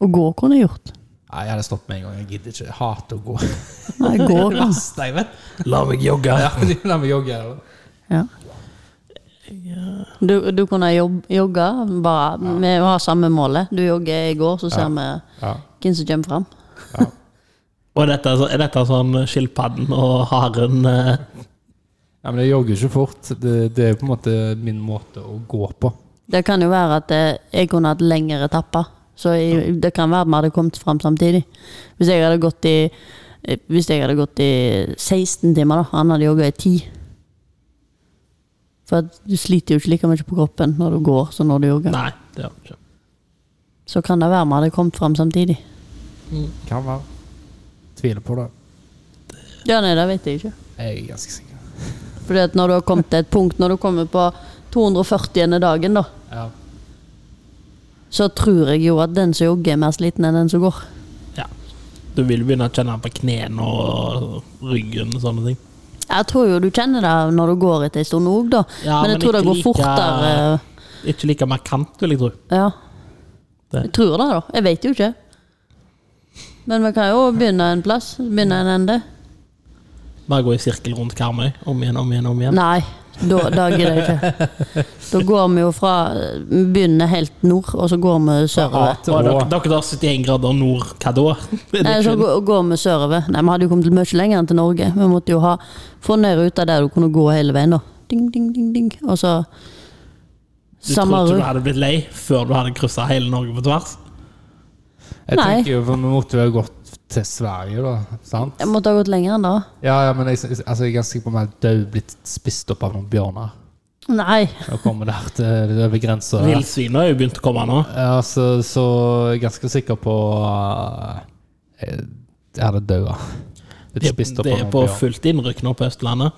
Å gå kunne jeg gjort.
Nei, jeg hadde stoppet med en gang. Jeg gidder ikke. Jeg hater å *laughs* gå.
Nei, gå *laughs* kan.
Nei, vet
La meg jogge.
Ja, *laughs* men de lar meg jogge. her, da.
Ja. Du, du kunne jobb, jogge. Bare, Vi har samme målet. Du jogger i går, så ser vi
Ja.
hvem som kommer fram.
Og er dette, er dette sånn skilpadden og haren eh,
ja, men jeg jogger ikke fort. Det, det er jo på en måte min måte å gå på.
Det kan jo være at eh, jeg kunne hatt lengre etapper. Så jeg, det kan være at vi hadde kommet fram samtidig. Hvis jeg hadde gått i eh, Hvis jeg hadde gått i 16 timer, da. Han hadde jogga i 10. For at du sliter jo ikke like mye på kroppen når du går som når du jogger.
Nei, det gjør vi ikke.
Så kan det være vi hadde kommet fram samtidig.
Kan være. Tviler på det.
Ja, nei, det vet jeg ikke.
Jeg er ganske sikker.
Fordi at når du har kommet til et punkt, når du kommer på 240. dagen, da,
Ja.
så tror jeg jo at den som jogger, er mer sliten enn den som går.
Ja. Du vil begynne å kjenne på knærne og ryggen og sånne ting.
Jeg tror jo du kjenner det når du går etter en stund òg, da.
Ja,
men jeg
men
tror det
ikke
går
like-
fortere.
Ikke like markant, vil jeg tro.
Ja.
Det.
Jeg tror det, da. Jeg vet jo ikke. Men vi kan jo begynne en plass. Begynne en ende.
Bare gå i sirkel rundt Karmøy. Om igjen, om igjen, om igjen.
Nei, da, da gidder jeg ikke. Da går vi jo fra Vi begynner helt nord, og så går vi sørover.
Og dere, dere har 71 grader nord, hva da? Er det
Nei, så
kun-
gå- går vi sørover. Nei, Vi hadde jo kommet mye lenger enn til Norge. Vi måtte jo ha få ned ruta der du kunne gå hele veien. da. Ding, ding, ding, ding. Og så
Du
Samme
trodde ikke du
rute.
hadde blitt lei før du hadde kryssa hele Norge på tvers?
Jeg
Nei.
tenker jo, for vi måtte jo ha gått til Sverige, da. Sant?
Jeg måtte ha gått lenger enn det.
Ja, ja, men jeg, altså, jeg er ganske sikker på om jeg hadde død blitt spist opp av noen bjørner.
Nei.
Nå kommer der til over grensa. der.
Villsvin har jo begynt å komme nå.
Ja, så, så jeg er ganske sikker på uh, Jeg jeg hadde dødd.
Det,
Blitt spist opp
det
av
er
noen
på
bjørn.
fullt innrykk nå på Østlandet.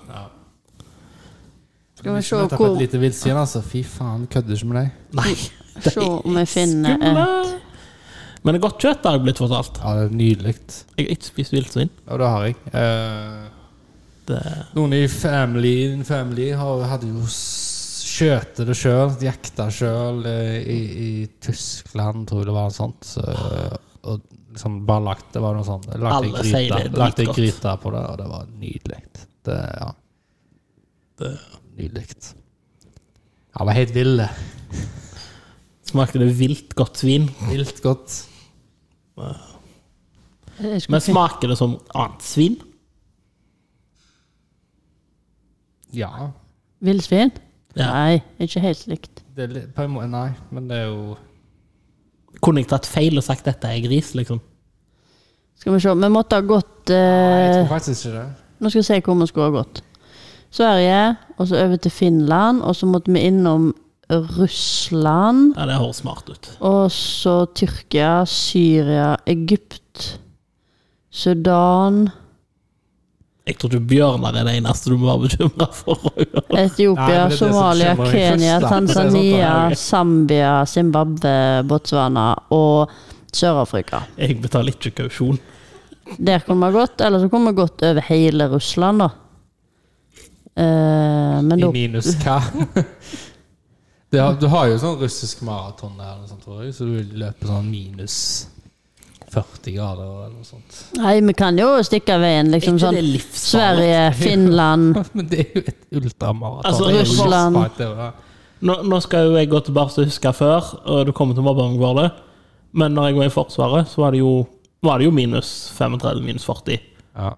Skal vi se,
Nettopp
hvor,
Et lite *laughs* villsvin, altså. Fy faen, kødder ikke med deg.
Nei,
se om vi finner
Skumle!
et
Men det er godt kjøtt, har jeg blitt fortalt.
Ja, det er nydelig.
Jeg har ikke spist villsvin.
Og det har jeg. Eh,
Det
noen i familien family har, hadde jo s- skjøtet det sjøl, jakta sjøl, eh, i, i Tyskland, tror jeg det var noe sånt. Så, og liksom bare lagt det var noe sånt. Lagt en
Alle sier
gryte,
det er
lagt en
dritgodt.
gryte på det, og det var nydelig. Det, ja.
Det-
Nydelig. Han var helt vill. det.
smakte det vilt godt svin.
Vilt godt.
Jeg skulle
Men smaker det som annet svin?
Ja.
Villsvin?
Ja.
Nei, ikke helt likt.
Det er litt, på en måte, nei, men det er jo
Kunne jeg tatt feil og sagt dette er gris, liksom?
Skal vi se, vi måtte ha gått
Nei, jeg
eh,
tror faktisk ikke det.
Nå skal jeg se hvor vi skulle ha gått. Sverige, og så over til Finland, og så måtte vi innom Russland.
Ja, det høres smart ut.
Og så Tyrkia, Syria, Egypt, Sudan,
Jeg tror ikke bjørner er det eneste du må være bekymra for. *laughs*
Nei,
Etiopia,
men det er det som
Somalia,
bekymrer meg
Kenya,
først, da. Det er sånn at
Tanzania,
det er-
Zambia, Zimbabwe, Botswana og Sør-Afrika.
Jeg betaler ikke kausjon.
Der kunne vi ha gått, eller så kunne vi gått over hele Russland, da. Eh, men da
I minus hva? *laughs* Det har, du har jo sånn russisk maraton der, eller noe sånt, tror jeg, så du vil løpe sånn minus 40 grader eller noe sånt. *laughs*
Nei, vi kan jo stikke av veien, liksom
Ikke
sånn.
det
*laughs*
livsfarlig?
Sverige, Finland
Men det er jo et ultramaraton.
Altså,
Det er jo
Russland.
livsfarlig, det er jo det.
Nå, nå skal jo jeg gå tilbake til å huske før, og du kommer til å mobbe meg for det, men når jeg var i Forsvaret, så var det jo, var det jo minus 35, minus 40.
Ja.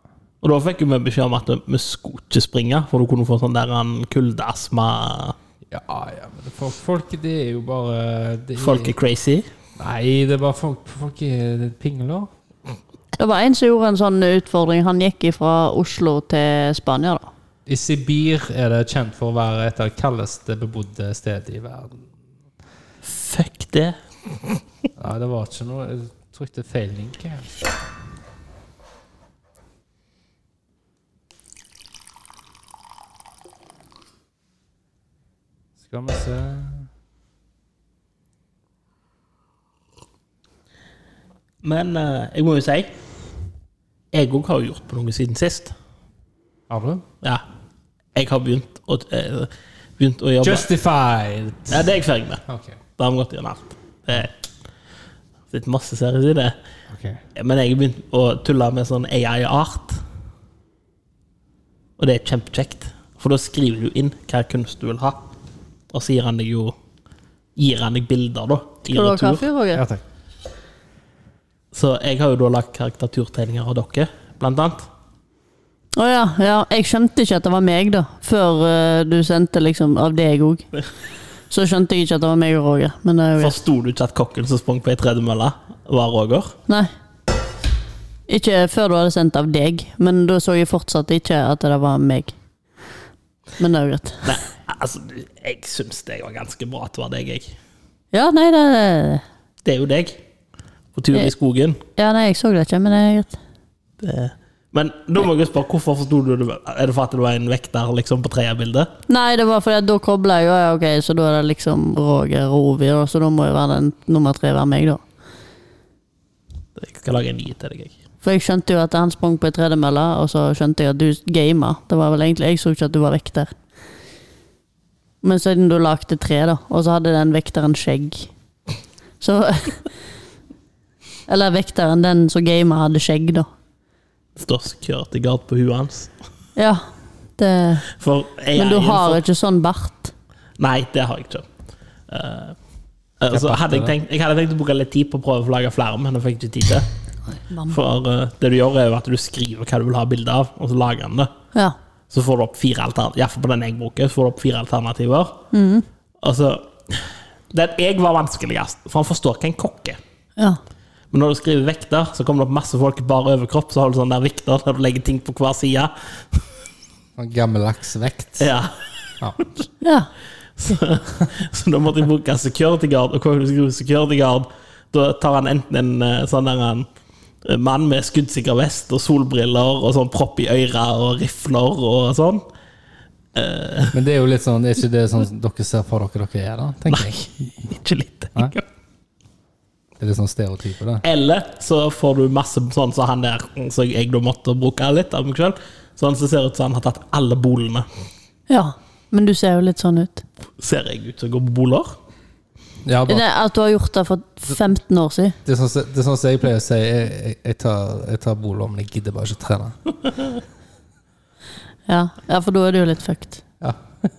Og da fikk jo vi beskjed om at vi skulle ikke springe, for du kunne få sånn der en kuldeastma
ja, ja, men det, folk, folk, det er jo bare det er,
Folk er crazy.
Nei, det er bare folk, folk er pingler.
Det var en som gjorde en sånn utfordring. Han gikk fra Oslo til Spania, da.
I Sibir er det kjent for å være et av de kaldeste bebodde stedet i verden.
Fuck det.
Nei, det var ikke noe Jeg trykte feil link her. Skal vi se
Men eh, jeg må jo si Jeg òg har jo gjort på noe siden sist.
Har du?
Ja. Jeg har begynt å, eh, begynt å jobbe
Justified!
Ja, det er jeg ferdig med.
Ok.
Da har vi gått gjennom alt. Det er det er masse serier i det. Men jeg har begynt å tulle med sånn AI-art. Og det er kjempekjekt. For da skriver du inn hva kunst du vil ha. Og så gir han deg jo Gir han deg bilder, da.
Skal
I
du ha
retur.
kaffe, Roger?
Ja takk.
Så jeg har jo da lagd karikaturtegninger av dere, blant annet.
Å ja, ja. Jeg skjønte ikke at det var meg, da. Før eh, du sendte liksom av deg
*laughs*
òg. Så skjønte jeg ikke at det var meg og Roger. Men det er jo greit.
Forsto du ikke at kokken som sprang på ei tredemølle, var Roger?
Nei. Ikke før du hadde sendt av deg, men da så jeg fortsatt ikke at det var meg. Men det er jo greit.
Nei, altså, jeg syns det var ganske bra at det var deg, jeg.
Ja, nei, det
Det er jo deg. På tur i skogen.
Ja, nei, jeg så det ikke, men det er greit.
Det. Men da må jeg spørre, hvorfor forsto du det? Er det for at det var en vekter liksom, på trea-bildet?
Nei, det var fordi at da kobla jeg jo ja, Ok, så da er det liksom Roger og Ovi, da, så da må jo være den nummer tre være meg, da.
Jeg skal lage en ny til deg, jeg.
For jeg skjønte jo at han sprang på ei tredemølle, og så skjønte jeg at du gama. Det var vel egentlig Jeg så ikke at du var vekter. Men siden du lagde tre, da, og så hadde den vekteren skjegg, så *laughs* Eller vekteren, den som gama, hadde skjegg, da.
Står security guard på huet hans.
Ja. Det,
For jeg
men du
er
har
innenfor-
ikke sånn bart.
Nei, det har jeg ikke. Eh, eh, så hadde jeg, tenkt, jeg hadde tenkt å bruke litt tid på å prøve å lage flere, men det fikk jeg ikke tid til. For eh, det du gjør, er jo at du skriver hva du vil ha bilde av, og så lager han det.
Ja.
Så får du opp fire alternativer. Iallfall på den jeg bruker, så får du opp fire alternativer.
Mhm.
Og så Den jeg var vanskeligst, for han forstår hva en kokk er.
ja.
Men når du skriver vekter, så kommer det opp masse folk i bar overkropp. Så har du sånn der vekter der du legger ting på hver side.
Sånn Gammeldags vekt.
Ja.
Ja.
ja.
Så, så da måtte jeg bruke security guard. Og hvordan du skriver security guard, da tar han enten en eh, sånn der en eh, mann med skuddsikker vest og solbriller og sånn propp i øra og rifler og sånn.
Men det er jo litt sånn Det er ikke det sånn dere ser for dere dere er, da? tenker jeg.
Ikke litt.
Nei. Det er litt sånn stereotype, det.
Eller så får du masse sånn som han der, så jeg da måtte bruke litt av meg sjøl. Sånn som ser ut som han har tatt alle bolene.
Ja, men du ser jo litt sånn ut.
Ser jeg ut som jeg går på boler?
Ja,
Det
bare,
er At du har gjort det for 15 år siden.
det er sånn som det er sånn som jeg pleier å si. Jeg, jeg, jeg tar, jeg tar bolig, men jeg gidder bare ikke trene.
Ja, ja for da er det jo litt fucked.
Ja.
*laughs*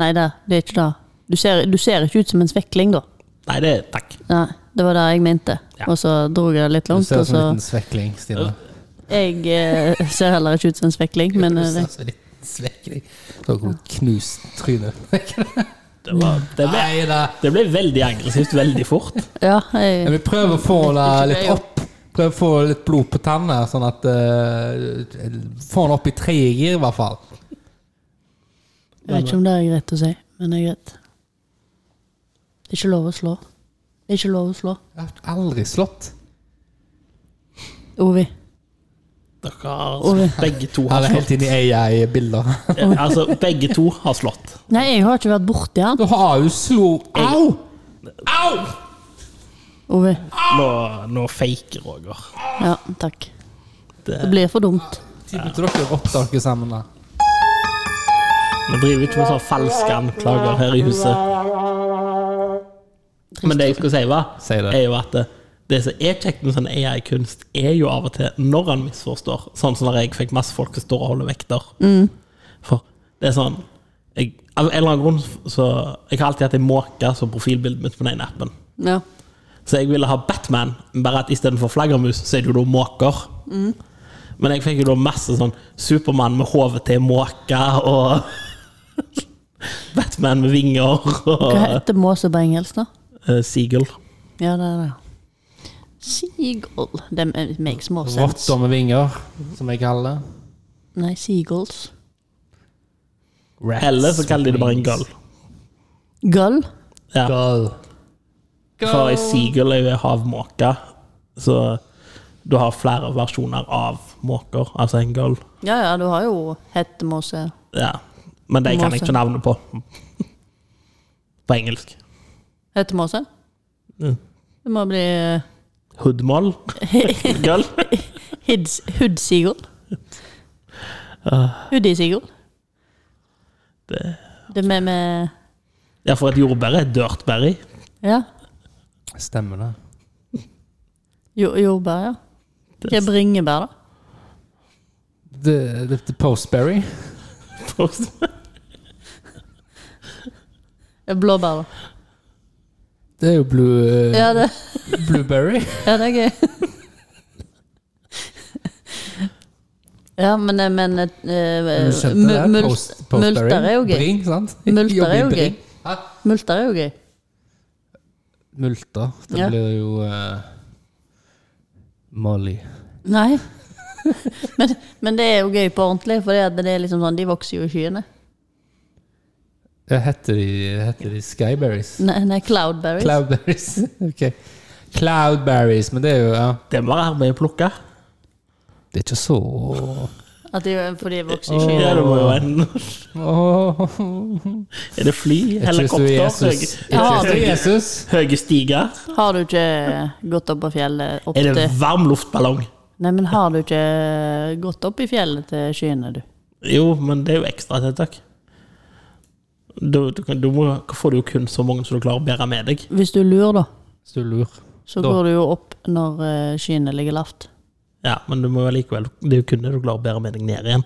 Nei da, det er ikke det. Du ser, du ser ikke ut som en svekling, da.
Nei, det takk.
Nei, det var det jeg mente.
Ja.
Og så dro jeg det litt
Du
langt.
ser
Og
ut som
så
en liten svekling, Stine.
Jeg eh, *laughs* ser heller ikke ut som en svekling, men
Du
eh,
ser ut som en liten svekling. Så har hun knust *laughs* trynet.
Det, var, det, ble,
Nei da.
det ble veldig aggressivt veldig fort.
ja,
Men
jeg,
vi prøver å få det
Ikke
litt
det,
opp. Prøver å få litt blod på tennene, sånn at eh, Få den opp i tredje gir, i hvert fall.
jeg vet ikke om det er greit å si, men det er greit. Det er ikke lov å slå. Det er ikke lov å slå.
Jeg har aldri slått.
Ovi.
Dere har,
Ove.
begge to har
Eller helt
slått.
inn i AI-bilder.
Ja, altså, begge to har slått.
Nei, jeg har ikke vært borti han.
*laughs* Du har jo slo Au! Au!
Ovi.
Nå, nå faker Roger.
Ja, takk.
Det,
Det blir for dumt.
Typen til dere rotter dere sammen der.
vi driver ikke med sånne falske anklager her i huset. Men det jeg skulle si, var,
Si det.
er jo at det, det som er kjekt med sånn AI-kunst, er jo av og til når han misforstår. Sånn som når jeg fikk masse folk som står og holder vekter. For det er sånn jeg, Av en eller annen grunn så Jeg har alltid hatt ei måke som profilbildet mitt på den ene appen.
Ja.
Så jeg ville ha Batman, bare at istedenfor flaggermus, så er det jo da måker. Men jeg fikk jo da masse sånn Supermann med hodet til en måke, og *laughs* Batman med vinger, og
Hva heter måse på engelsk, da?
eh, Seagull.
Ja, det er det. Seagull. Det eh, makes more sense.
Rotter med vinger, som jeg kaller det.
Nei, seagulls.
Rats
Eller så kaller de det bare en
with
gull.
wings.
Gull?
Ja.
Gull.
For ei seagull er jo ei havmåke, så du har flere versjoner av måker, altså en gull.
Ja ja, du har jo hettemåse.
Ja. Men de kan jeg ikke navnet på. *laughs* På engelsk.
Hettemåse?
Mm.
Det må bli eh,
Hoodmoll. Gull.
Hids, Hoodseagull. Hoodieseagull.
Det-
Det med med
Ja, for et jordbær er dirtberry.
Ja.
Stemmer det.
Jo, jordbær, ja. Hva er bringebær, da?
The, the, the Postberry.
Post.
Det er Blåbær, da.
Det er jo blue, eh,
Ja, det,
blueberry.
ja, det er gøy. Ja, men, eh, men eh,
Du
eh,
skjønte det?
mul-
Post- Postberry.
Multer er jo gøy.
Bring, sant? *laughs*
Multer er jo
Jobber i
gøy.
bring. Hæ?
Multer er jo gøy.
Multer. Det
Ja.
blir jo eh, Molly.
Nei. *laughs* Men, men det er jo gøy på ordentlig, for det er liksom sånn, de vokser jo i skyene.
Ja, heter de, heter de Skyberries?
Nei, nei cloudberries.
Cloudberries. *laughs* ok. Cloudberries, men det er jo ja.
*laughs* Det må være med å plukke.
Det er ikke så
At de, for de vokser i
Åh.
skyene.
Ja, det må jo være en Er det fly?
Jeg tror du er
Helikopter?
Jesus. Jeg
Ja.
tror du er Jesus.
Høye stiger?
Har du ikke eh, gått opp på fjellet opp
Er det
til
varm luftballong?
Nei, men har du ikke eh, gått opp i fjellet til skyene, du?
Jo, men det er jo ekstratiltak. Du, du, kan- du må, får du jo kun så mange som du klarer å bære med deg.
Hvis du lurer, da,
Hvis du lurer.
så
Da.
går du jo opp når eh, skyene ligger lavt.
Ja, Men du må jo likevel, det er jo kun det du klarer å bære med deg ned igjen.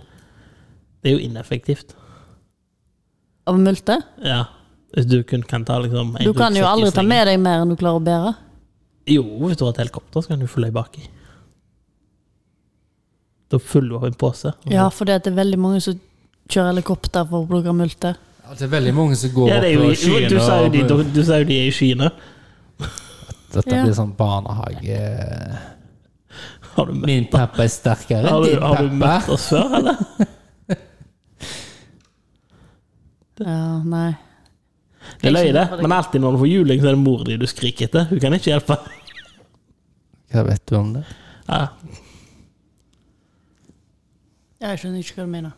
Det er jo ineffektivt.
Av multe?
Ja, Hvis du kun kan ta liksom en
Du kan jo
ryggsekk i
aldri ta
slengen.
med deg mer enn du klarer å bære.
Jo, hvis du har et helikopter, så kan du fylle deg baki. Da fyller du opp en pose.
Ja, for det er veldig mange som kjører helikopter for å plukke multer.
Ja, det er veldig mange som går
Ja, det er jo,
opp på skyene.
du sa jo de,
og-
du, du sa jo de er i skyene.
Dette
Ja.
blir sånn barnehage...
Har du, møtt-
Min pappa er sterkere
har
enn
du,
din
har du
pappa.
møtt oss før,
*laughs*
eller?
Ja, nei.
Det er løye, det. Men alltid når du får juling, så er det mor di du skriker etter. Hun kan ikke hjelpe.
Hva vet du om det?
Ja.
Jeg skjønner ikke hva du mener.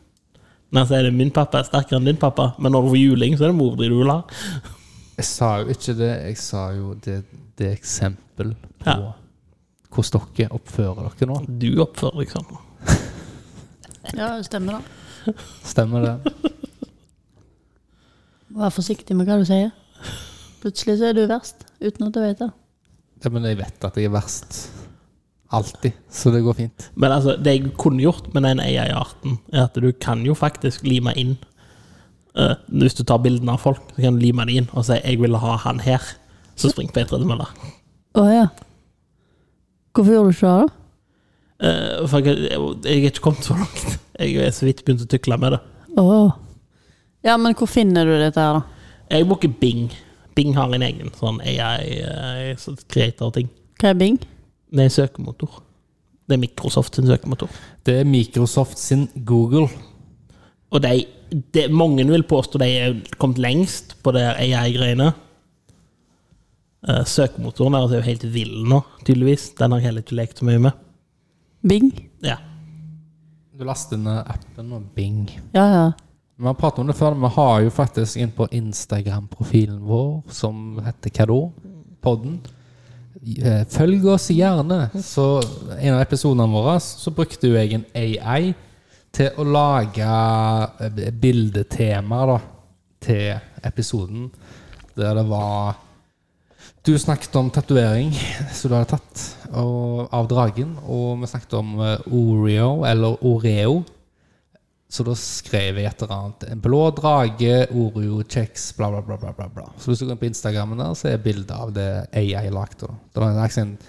Når jeg sier det, min pappa er sterkere enn din pappa, men når du får juling, så er det mor di du vil ha.
Jeg sa jo ikke det. Jeg sa jo det, det er eksempel på
Ja.
hvordan dere oppfører dere nå.
Du oppfører deg sånn.
Ja, det stemmer det.
Stemmer det?
Vær forsiktig med hva du sier. Plutselig så er du verst, uten at du vet det.
Ja, men jeg vet at jeg er verst. Alltid. Så det går fint.
Men altså, det jeg kunne gjort med den AI-arten, er at du kan jo faktisk lime inn eh, Hvis du tar bildene av folk, så kan du lime det inn og si 'jeg vil ha han her', så spring på ei tredemølle.
Å ja. Hvorfor gjorde du ikke det, da?
Eh, for jeg, jeg, jeg er ikke kommet så langt. Jeg er så vidt begynt å tykle med det.
Åh. Ja, men hvor finner du dette her, da?
Jeg bruker Bing. Bing har en egen sånn eh, AI-creator-ting.
Hva er Bing?
det er en søkemotor. Det er Microsoft sin søkemotor.
Det er Microsoft sin Google.
Og de, de, mange vil påstå de er kommet lengst på det her AI-greiene. Eh, Søkemotoren deres er jo helt vill nå, tydeligvis. Den har jeg heller ikke lekt så mye med.
Bing?
Ja.
Du laster ned appen og bing.
Ja, ja.
Vi har pratet om det før, men vi har jo faktisk inn på Instagram-profilen vår, som heter hva da? Podden. Eh, Følg oss gjerne. Så en av episodene våre så brukte jo jeg en AI til å lage eh, bildetema da, til episoden, der det var du snakket om tatovering *laughs* som du hadde tatt og, av dragen, og vi snakket om eh, Oreo, eller Oreo, så da skrev jeg et eller annet. En blå drage, Oreo, kjeks, bla, bla, bla. bla, bla, bla. Så hvis du går inn på Instagrammen der, så er bildet av det AI lagde. Da. Det var en aksent-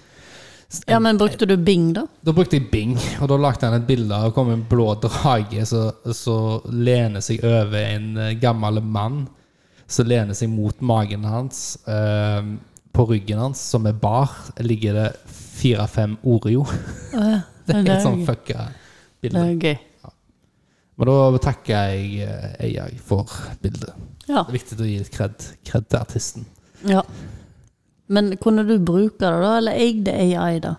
Ja, men brukte du Bing, da?
da brukte jeg Bing, *laughs* og da lagde han et bilde av det kom en blå drage som som lener seg over en eh, gammel mann som lener seg mot magen hans. Eh, på ryggen hans, som er bar, ligger det fire-fem Oreo. *laughs* Det er et sånn fucka
Det
bilde.
er gøy.
Men da takker jeg eh, AI for bildet.
Ja.
Det er viktig å gi litt kred, kred til artisten.
ja. Men kunne du bruke det, da? Eller eide AI, da?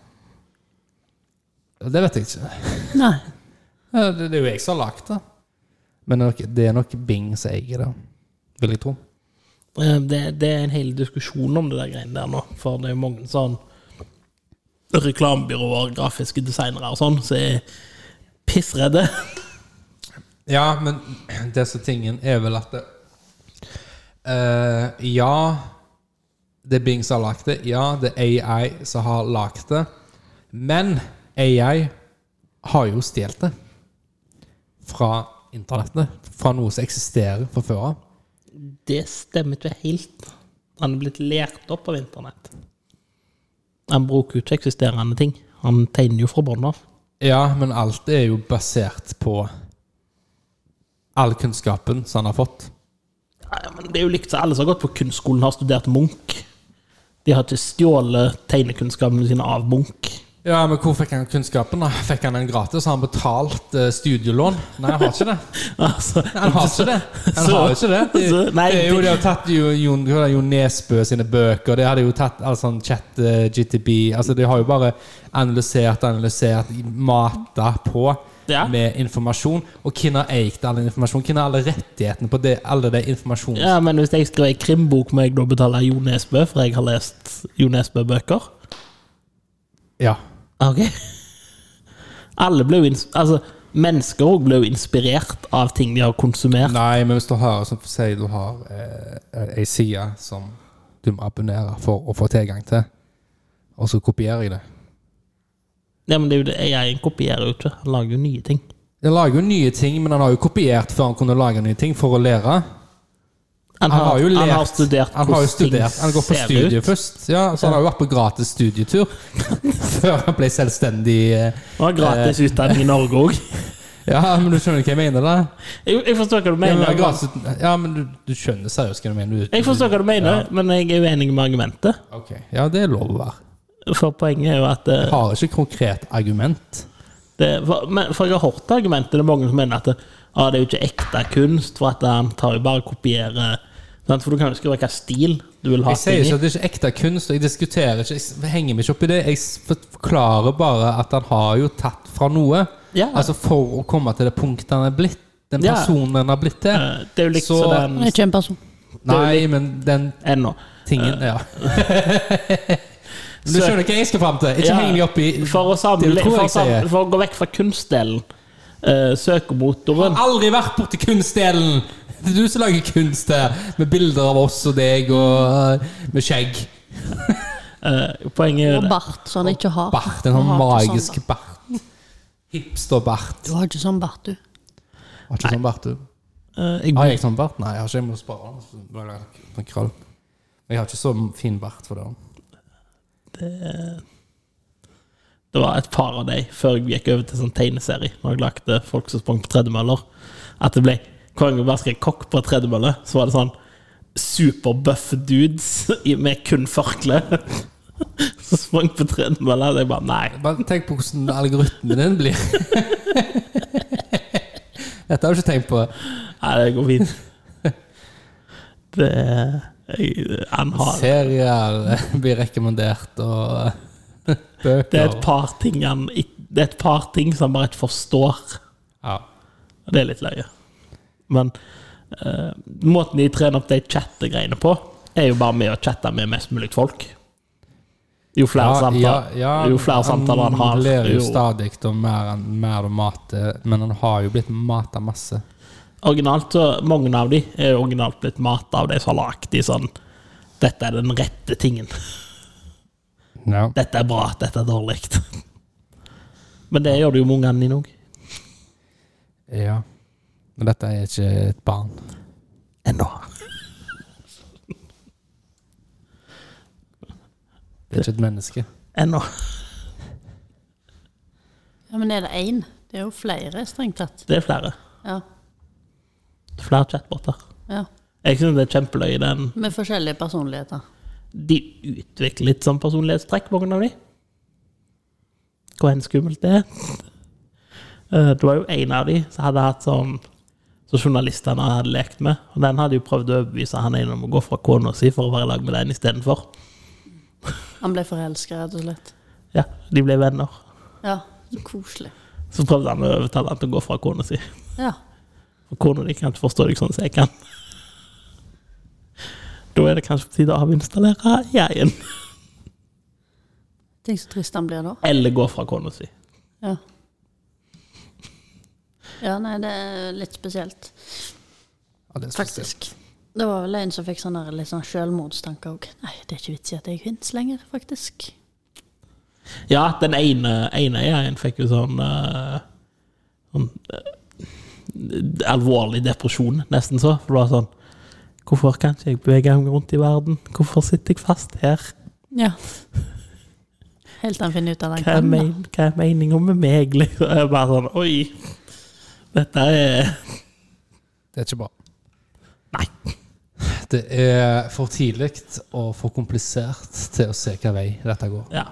Og Det vet jeg ikke.
Nei.
Ja, Det, det er jo jeg som har lagd det. Men det er nok- det er nok Bing som eier det, vil jeg tro.
Eh, Det, det er en hel diskusjon om det der greiene der nå, for det er mange sånn reklamebyråer, grafiske designere og sånn, som er pissredde.
Ja, men *clears throat* det som er tingen er vel at det, eh, Ja, det er Bing som har lagd det. Ja, det er AI som har lagd det. Men AI har jo stjålet det fra internettet. Fra noe som eksisterer fra før av.
*laughs* Det stemmer ikke helt. Han er blitt lært opp av internett. Han bruker jo ikke eksisterende ting. Han tegner jo fra bunnen av.
Ja, men alt er jo basert på all kunnskapen som han har fått.
Ja, men det er jo likt som alle som har gått på kunstskolen, har studert Munch. De har ikke stjålet tegnekunnskapene sine av Munch. *laughs*
Ja, men hvor fikk han kunnskapen? da? Fikk han den gratis? Har han betalt eh, studielån? Nei, han har ikke det.
Altså,
Han har ikke det. Han
Så-
har jo ikke det. *laughs* Det,
så- nei,
det er jo
det-
det å tatt jo, Jon, hva er det, Jon Nesbø sine bøker. Det hadde jo tatt altså, sånn chat eh, GTB altså, De har jo bare analysert, analysert, mata på
Ja.
med informasjon. Og hvem har eid all den informasjonen? Hvem har alle rettighetene på det, alle de informasjonen?
ja, men hvis jeg skriver en krimbok, må jeg da betale Jo Nesbø, for jeg har lest Jo Nesbø-bøker?
Ja.
Ok. *laughs* Alle ble jo ins altså, mennesker også ble jo inspirert av ting de har konsumert.
Nei, men hvis du har som sier du har eh, ei side som du må abonnere for å få tilgang til, og så kopierer jeg det
Ja, men det er jo det. Jeg kopierer jo ikke. Han lager jo nye ting.
Jeg lager jo nye ting, men han har jo kopiert før han kunne lage nye ting, for å lære.
Han,
Han har jo
han
lært.
har studert
Han har jo
hvordan ting
studert. Han går på
ser
studie
ut.
først. Ja, så han har jo vært på gratis studietur *laughs* før han ble selvstendig. eh,
Han har gratis utdanning i Norge òg.
Ja, men du skjønner hva jeg mener, da?
*laughs* Jeg, jeg forstår hva
Ja,
du
men,
mener.
det er
men-
gratis, ja, men du, du skjønner seriøst hva du mener? Du,
Jeg forstår hva du mener, men jeg er uenig med argumentet.
Ok, Ja, det er lov å være.
For poenget er jo at eh,
Jeg har ikke konkret argument.
det, for, men, for jeg har hørt argumentet, det er mange som mener at det, ah, det er jo ikke ekte kunst, for at eh, han tar jo bare og kopierer sant? For du kan jo skrive hvilken stil du vil ha
Jeg sier
ting
ikke
i.
at det er ikke ekte kunst, og jeg diskuterer ikke, jeg henger meg ikke opp i det. Jeg forklarer bare at han har jo tatt fra noe.
Ja.
Altså for å komme til det punktet han er blitt. Den
Ja.
personen han har blitt til.
Eh, Det er jo likt
Så-
som den
Han er ikke en person.
Nei, men den
eh, ennå.
tingen Ja. Men Du
Så-
skjønner hva jeg skal fram til? Ikke
Ja.
heng deg opp i
For å, samle,
Det tror jeg
for, å
jeg sier.
samle, for å gå vekk fra kunstdelen. Uh, søkemotoren.
har aldri vært borti kunstdelen! Det er du som lager kunst her, med bilder av oss og deg, og eh, med skjegg.
Eh, poenget er jo
Og
det.
bart, så han ikke
Ah,
har.
Bart. En sånn
Han har ikke
magisk
sånn
bart. Hipster-bart.
Du har ikke sånn bart, du.
Har ikke sånn bart, du?
Eh, jeg,
Har jeg sånn bart? Nei, jeg har ikke. Jeg må spare altså. den. Så bare lage en krøll. Men Jeg har ikke så fin bart for det.
det var et par av dem før jeg gikk over til sånn tegneserie, når jeg lagde folk som sprang på tredemøller. At det ble Hver gang jeg bare skrev 'kokk' på tredemølle, så var det sånn superbuff dudes i- med kun forkle *laughs* som sprang på tredemølle. Og jeg bare Nei.
Bare tenk på hvordan algoritmen din blir. *laughs* Dette har jeg ikke tenkt på.
Nei, det går fint. Det jeg, Han har
Serier eh, blir rekommendert, og eh, *laughs* bøker.
Det er et par ting han ikk- Det er et par ting som han bare ikke forstår.
Ja.
Og det er litt løye. Men eh, måten de trener opp de chattegreiene på, er jo bare med å chatte med mest mulig folk. Jo flere
Ja,
samtaler,
ja, ja,
jo flere samtaler han har,
Han ler jo
jo
stadig og mer enn mer og mater, men han har jo blitt mata masse.
Originalt, så Mange av de er jo originalt blitt mat av de som har lagd de sånn Dette er den rette tingen.
Ja.
Dette er bra, dette er dårlig. *laughs* Men det gjør det jo med ungene dine òg.
ja. Men dette er ikke et barn.
Ennå.
Det er ikke et menneske.
Ennå.
Ja, Men er det én? Det er jo flere, strengt tatt.
Det er flere.
Ja.
Flere chatboter.
ja.
Jeg synes det er kjempeløye. Den,
Med forskjellige personligheter.
de utvikler litt sånn personlighetstrekk, mange av de. Hvor enn skummelt det er. Eh, Det var jo en av de som hadde hatt sånn Som journalistene hadde lekt med. Og den hadde jo prøvd å overbevise han ene om å gå fra kona si for å være i lag med den istedenfor.
Han ble forelska, rett og slett.
Ja, de ble venner.
Ja, så koselig.
Så prøvde han å overtale han til å gå fra kona si.
Ja.
For kona di kan ikke forstå deg sånn som jeg kan. Da er det kanskje på tide å avinstallere jeg-en.
Tenk så trist han blir da.
Eller gå fra kona si.
Ja. ja, nei, det er litt spesielt,
Ja, det er spesielt.
faktisk. Det var vel en som fikk sånne der litt sånn sjølmordstanker òg. Nei, det er ikke vits i at jeg finnes lenger, faktisk.
Ja, den ene, ene eieren fikk jo sånn, eh, sånn eh, Alvorlig depresjon, nesten så. For det var sånn Hvorfor kan ikke jeg bevege meg rundt i verden? Hvorfor sitter jeg fast her?
Ja. Helt til han finner ut av det.
Hva er,
han kan,
men, hva er meninga med meg? *laughs* Liksom? Jeg er bare sånn Oi! Dette er
Det er ikke bra.
Nei.
*laughs* Det er for tidlig og for komplisert til å se hvilken vei dette går.
Ja.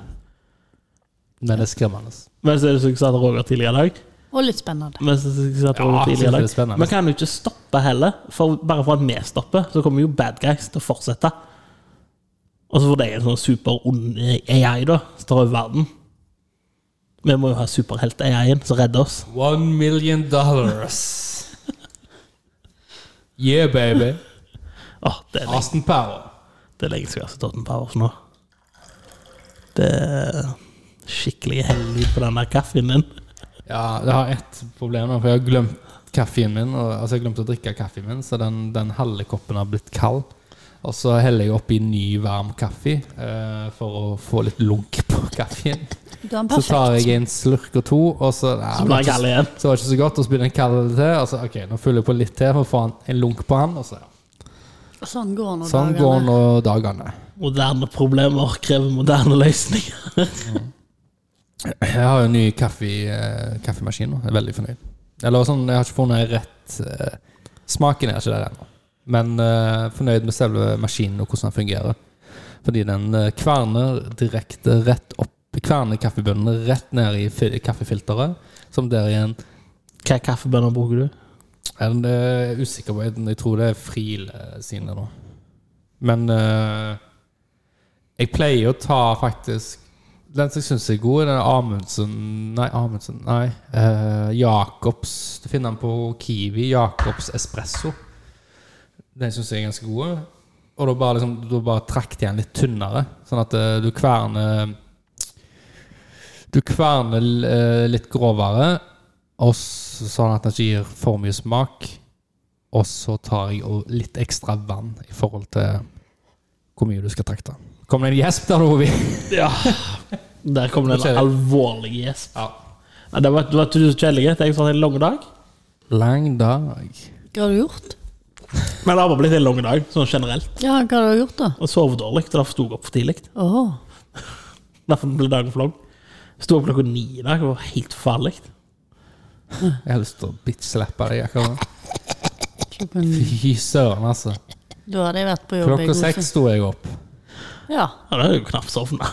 Men det er skremmende.
Men så er det som jeg sa til Roger tidligere i dag
da. Og litt spennende.
Men så, så, så,
Ja,
så, ja,
jeg synes det er spennende.
Man kan jo ikke stoppe heller. For bare for at vi stopper, så kommer jo bad guys til å fortsette. Og så får de en sånn superond AI, da, som tar over verden. Vi må jo ha superhelt-AI-en som redder oss.
One million dollars. Yeah, baby.
Åh, det er lenge,
Austin Power.
det er lenge siden jeg har sett Totten Powers nå. Det er skikkelig hellig på den der kaffen din.
Ja, jeg har ett problem, da, for jeg har glemt kaffen min. Og, altså, jeg glemte å drikke kaffen min, så den, den halve koppen har blitt kald. Og så heller jeg oppi ny, varm kaffe eh, for å få litt lunk på kaffen.
Du har en
Så tar
perfekt.
jeg en slurk og to, og så nei,
Så blir jeg gale igjen.
Så var det ikke så godt, og så begynner jeg å kalle det til. Og så, ok, nå fyller jeg på litt til for å få en- en lunk på han. Og så, ja.
Sånn går nå
Sånn går
dagene.
nå dagene.
Moderne problemer krever moderne løsninger.
Jeg har jo en ny kaffe, eh, kaffemaskin nå. Jeg er veldig fornøyd. Eller sånn, jeg har ikke funnet rett eh, Smaken er ikke der ennå. Men eh, fornøyd med selve maskinen og hvordan den fungerer. Fordi den eh, kverner direkte rett opp Kverner kaffebønnene rett ned i fi- kaffefilteret, som der igjen
Hva kaffebønner bruker du?
er den eh, usikker på. Jeg jeg tror det er Friele sine nå. Men eh, jeg pleier å ta faktisk Den som jeg syns er god, er den Amundsen Nei, Amundsen, nei. eh, Jacobs Du finner den på Kiwi. Jacobs Espresso. Den syns jeg er ganske god. Og da bare, liksom, da bare trakk de den litt tynnere, sånn at eh, du kverner Du kverner eh, litt grovere, og s- sånn at den ikke gir for mye smak. Og så tar jeg og litt ekstra vann i forhold til hvor mye du skal trakte. Kom det en gjesp der, Ovi?
Ja. Der kom det
Nå ser
en
jeg.
alvorlig gjesp.
Ja.
Nei, Det var, det var ikke så kjedelig. Jeg hadde en lang dag.
Lang dag.
Hva har du gjort?
Men det har bare blitt en lang dag, sånn generelt.
Ja, hva har du gjort, da?
Og sovet dårlig, og derfor sto jeg opp for tidlig.
Åh,
Derfor ble dagen for lang. Sto opp klokka ni i dag, det var helt forferdelig.
Jeg har lyst til å bitch-slappe deg akkurat nå.
klokken
Fy søren, altså.
Da hadde jeg vært på jobb. i
Klokka
god
seks
tid.
sto jeg opp.
Ja,
Ja, det er jo knapt sovna.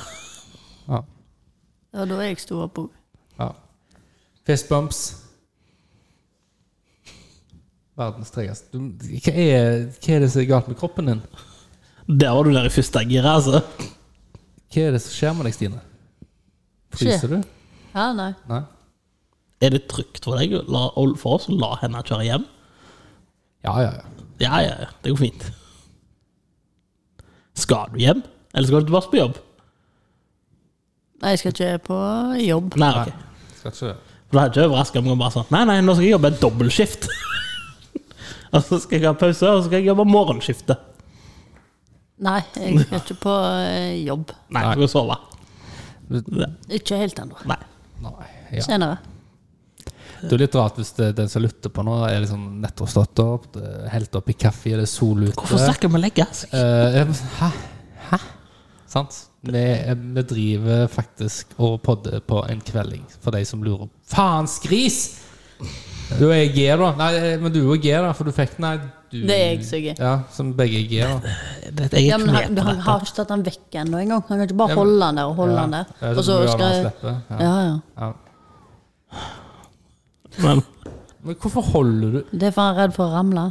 Ja.
det var da jeg sto opp òg.
ja. Fist bumps. Verdens tregeste. Du- Hva, er- hva er det som er galt med kroppen din?
Der var du der i første giret, altså.
Hva er det som skjer med deg, Stine? Fryser du?
Ja, nei.
Nei?
Er det trygt for deg å la, å- for oss å la henne kjøre hjem?
Ja, ja, ja.
Ja, ja, ja. Det går fint. Skal du hjem? Eller skal du tilbake på jobb?
Nei, jeg skal ikke på jobb.
Nei, ok.
Skal ikke det.
For da hadde jeg ikke overraska om hun bare sånn Nei, nei, nå skal jeg jobbe dobbeltskift. *laughs* og så skal jeg ha pause, og så skal jeg jobbe morgenskiftet.
Nei, jeg skal ikke på eh, jobb.
Nei,
Nei.
du skal sove.
Ikke helt ennå.
Nei.
Nei. Ja.
Senere.
Det er jo litt rart hvis det, den som lytter på nå, er liksom nettopp stått opp, det er helt oppi kaffe, det er sol ute.
Hvorfor snakker vi legge? seg?
Eh, jeg- hæ? Hæ? Sant? Vi, eh, vi driver faktisk og podder på en kvelding, for de som lurer. Faens gris! Du er G, da. Nei, eh, men du er G, da, for du fikk Nei, du
Det er jeg som er G.
Ja, som begge er
*laughs*
G, da.
Det- Jeg
Ja,
er
men han,
knep på
han
dette.
har ikke tatt den vekk ennå engang. Han kan ikke bare
Ja, men-
holde den der og holde den der.
Ja,
Og så skal jeg
slippe. Ja.
Ja, ja.
Ja.
Men
Men hvorfor holder du *laughs*
Det er for han er redd for å ramle.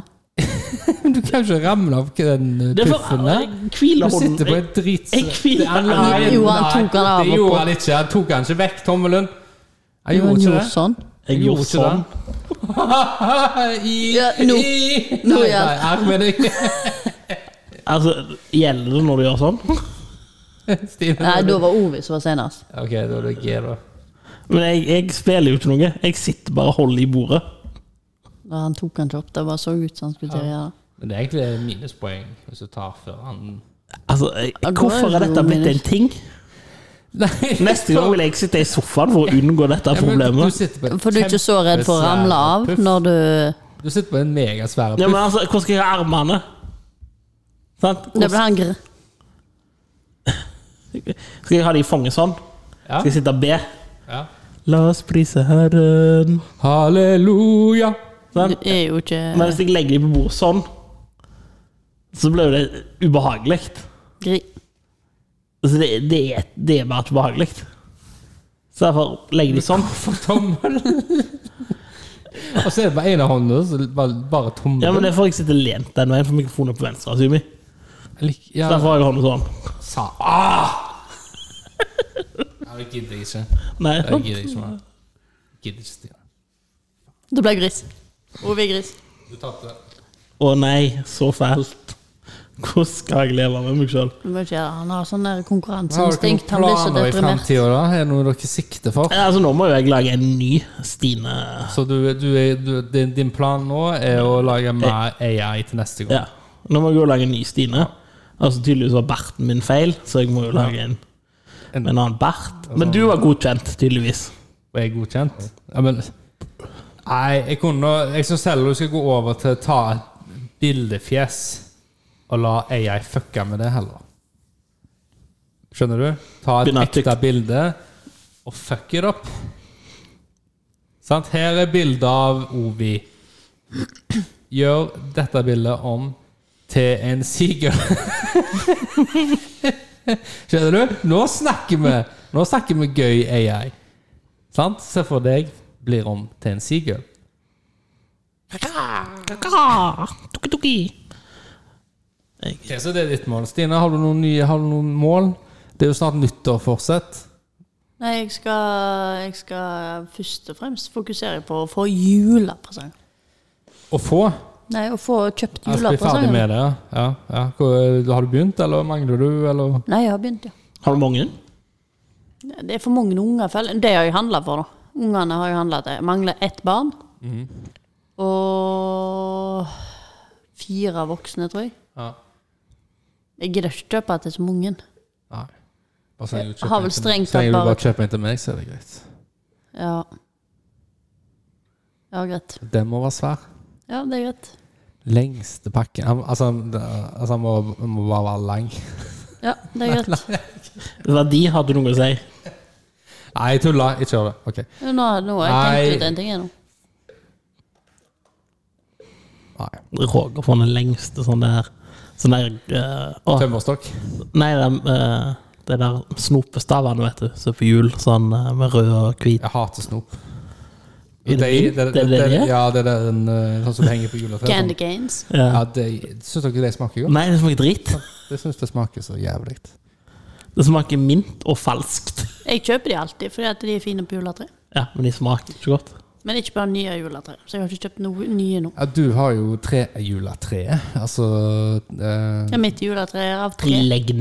Du kan jo ikke ramle opp den eh,
det er
puffen
for
der.
Jeg hviler
Du sitter på
hånden.
en drits...
Jeg hviler
Nei,
aldri.
Jo, han tok han av
nei,
og
Det
på.
gjorde han ikke. Han tok han ikke vekk, tommelen. Jeg
Jo, han
gjorde ikke
gjorde
det.
sånn.
Jeg gjorde
ikke
sånn.
det. *laughs* I,
Ja, nå.
i-
Nå
Nei,
igjen.
nei, her med deg.
Altså, gjelder det når du gjør sånn?
*laughs* Stine.
Nei, da var Ovi som var senest.
Ok, da er det G, da.
Men jeg, jeg spiller jo ikke noe. Jeg sitter bare og holder i bordet.
Da han tok han ikke opp. Det bare så ut som han skulle til å gjøre det.
Men det er egentlig minuspoeng hvis du tar før han
Altså, jeg,
Ja, da
hvorfor
er
er
det
dette
jo
blitt en
minus.
ting? Neste gang vil jeg sitte i sofaen for å unngå dette problemet.
For du er ikke så redd for å ramle av når du
Du sitter på en megasvær
Ja,
puff.
men altså, Hvor skal jeg ha armene? Sant?
Det
Hvor
ble han gr...
Skal jeg ha det i fanget sånn?
Ja.
Skal jeg sitte og be?
Ja.
La oss prise Herren.
Halleluja.
Du
Sant?
er jo ikke
Men hvis jeg legger dem på bordet sånn, så blir jo det ubehagelig.
gri...
Altså, det, det, er- det er bare ikke behagelig. Så derfor legger de sånn.
For tommelen. *laughs* Og så er det bare én av hånda, så bare, bare tommelen.
Ja, men det er for jeg sitter lent den veien, for mikrofonen er på venstre. Sumi.
Jeg lik- ja,
Derfor har jeg hånden sånn.
sa ah! Ja, det gidder jeg ikke.
Nei,
Jeg gidder ikke mer. Gidder ikke, Stine.
Det ble gris. Ovi er gris.
Du tapte.
Å nei, så fælt. Hvordan skal jeg leve med meg sjøl?
Du må ikke gjøre det. Han har sånn der
Har dere noen
konkurranseinstinkt. Han blir så
planer i
deprimert.
fremtiden da? Er det noe dere sikter for?
Altså, nå må jo jeg lage en ny Stine.
Så du, du, er- du, din, din plan nå er å lage mer AI til neste gang?
Ja. Nå må jeg jo lage en ny Stine. Altså, tydeligvis var barten min feil, så jeg må jo lage en med en annen bart. Men du var godkjent, tydeligvis.
Og er godkjent? Ja, men Nei, jeg kunne Jeg syns heller du skal gå over til å ta et bildefjes og la AI fucke med det heller. Skjønner du? Ta et
Begynne å
ekte
trykke.
bilde og fuck it up. Sant? Her er bildet av Ovi. Gjør dette bildet om til en siger. *laughs* Skjønner du? Nå snakker vi Nå snakker vi gøy AI. Sant? Se for deg blir om til en seagull.
Kaka, tuki, tuki. Jeg,
Ok, så det er ditt mål. Stine, har du noen, nye, har du noen mål? Det er jo snart nyttår fortsatt.
Nei, jeg skal, jeg skal først og fremst fokusere på å få julepresang.
Å få?
Nei, å få kjøpt
Jeg skal bli ferdig
julepresanger.
med det, ja. ja, ja. Hvor- eh, Har du begynt, eller mangler du, eller
Nei, jeg har begynt, ja.
Har du mange?
Det er for mange unger. føler jeg. Det har jeg handla for, da. Ungene har jo handla det. Jeg mangler ett barn.
Mhm.
Og fire voksne, tror jeg.
ja.
Jeg gidder ikke kjøpe til så mange.
Nei. Bare så lenge
Jeg har
du kjøper
vel
en til-
strengt
så
tatt
lenge du
bare-
bare kjøper en til meg, så er det greit.
Ja. Ja, greit.
Den må være svær.
Ja, det er greit.
Lengste pakken Han- Altså, han- altså han må, han må bare være lang.
Ja, det er
*laughs*
greit.
Verdi hadde noe å si.
Nei, jeg tuller. Jeg kjører det. Ok.
Nå, nå har jeg
Nei.
tenkt ut en ting jeg nå.
Nei.
Roger får den lengste sånn der Sånn der eh, å,
Tømmerstokk.
Nei, det, eh, det der snopestavene, vet du. Som er på hjul, sånn eh, med rød og hvit.
Jeg hater snop.
Er det din? Er det det?
Ja, det er den eh, sånn som henger på juletreet. sånn.
Candy canes.
Ja.
Ja, det, Syns dere det smaker godt?
Nei, det smaker dritt.
Det syns det smaker så jævlig.
Det smaker mint og falskt.
Jeg kjøper de alltid, fordi at de er fine på juletre.
Ja, men de smaker ikke godt.
Men ikke bare nye juletre. Så jeg har ikke kjøpt noe nye nå.
Ja, du har jo tre juletre. Altså eh,
Ja, mitt juletre er av tre.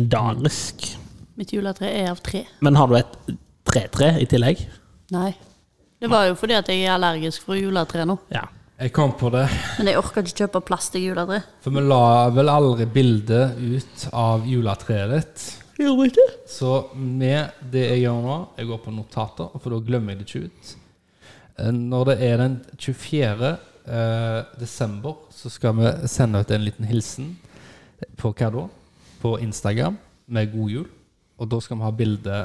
Legendarisk.
Mitt juletre er av tre.
Men har du et tre-tre i tillegg?
Nei. Det var jo fordi at jeg er allergisk for juletre nå.
Ja.
Jeg kom på det.
Men jeg orker ikke kjøpe plastikkjuletre.
For vi la vel aldri bildet ut av juletreet ditt.
Gjorde du ikke?
Så med det jeg gjør nå Jeg går på notater, for da glemmer jeg det ikke ut. Eh, Når det er den 24. Eh, desember, så skal vi sende ut en liten hilsen på hva da? På Instagram med god jul. Og da skal vi ha bilde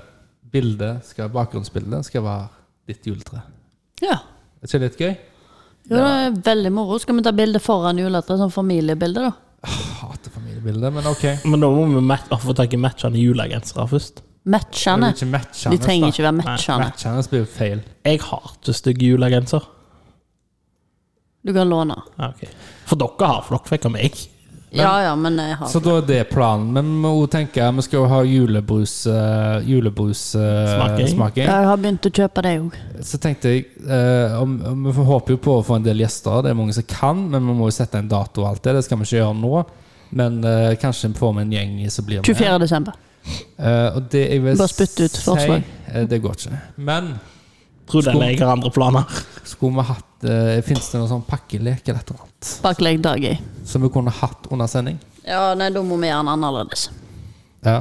Bildet skal, Bakgrunnsbildet skal være ditt juletre.
Ja.
Er ikke det litt gøy?
Jo, det er veldig moro. Skal vi ta bilde foran juletreet, sånn familiebilde, da?
Hater familiebildet, men OK.
Men da må vi mat- få tak i matchende julegensere først.
Du
Matchende.
ikke matchende,
De trenger
da.
ikke være matchende.
Matchende blir jo feil.
Jeg har ikke stygge julegenser.
Du kan låne.
Ja, Ah, ok. For dere har, for dere fikk av meg.
Ja ja, men jeg har
Så da er det planen. Men vi må også tenke vi skal jo ha julebrussmaking. Julebrus, eh,
Smaking.
smaking.
Ja, jeg har begynt å kjøpe det òg.
Så tenkte jeg eh, om, om Vi håper jo på å få en del gjester. Det er mange som kan, men vi må jo sette en dato og alt det. Det skal vi ikke gjøre nå. Men eh, kanskje vi får med en gjeng som blir med.
24. desember.
Eh, og det jeg vil
Bare spytt ut
si-
forslag.
eh, det går ikke. Men
Tror den jeg har andre planer.
skulle vi hatt uh, Fins det noen sånn pakkelek eller et eller annet
Baklegg dag i.
som vi kunne hatt under sending?
Ja, nei, da må vi gjøre den annerledes.
Ja.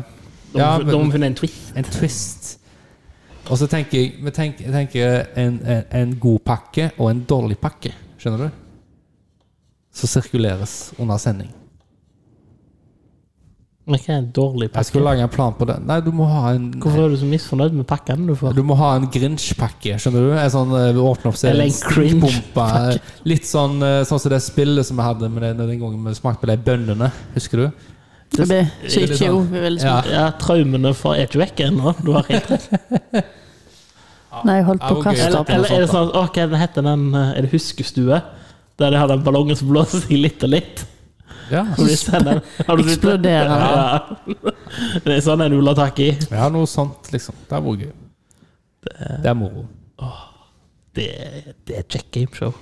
Da må,
Ja,
vi-
men-
da må vi finne en twist.
En twist. Og så tenker jeg, vi tenker, jeg tenker en, en, en god pakke og en dårlig pakke. Skjønner du? Som sirkuleres under sending.
Men hva er en dårlig
Jeg skulle
pakke?
lage en plan på det. Nei, du må ha en
Hvorfor er du så misfornøyd med pakkene du får?
du må ha en Grinch-pakke, skjønner du? En sånn eh, vi åpner opp så er det
Eller en
stikkbombe. Litt sånn eh, Sånn som det spillet som vi hadde med den, den gangen vi smakte på de bønnene. Husker du?
Det blir så
det er
ikke
sånn.
ufrivillig
Ja.
smart.
Ja, Traumene for er ikke vekk ennå. Du har helt rett.
Nei, jeg holdt på å
Ja, ok.
kaste
Eller,
opp noe
eller er det
sånt.
sånn Å, hva er det heter den eh, Er det Huskestue? Der de har den ballongen som blåser seg litt og litt.
Ja.
Så de sender- har du-
Eksploderer.
Ja. Det er sånn en vil ha tak i.
ja, noe sånt, liksom. Det hadde vært gøy. Det er moro.
Det, det er et kjekt gameshow.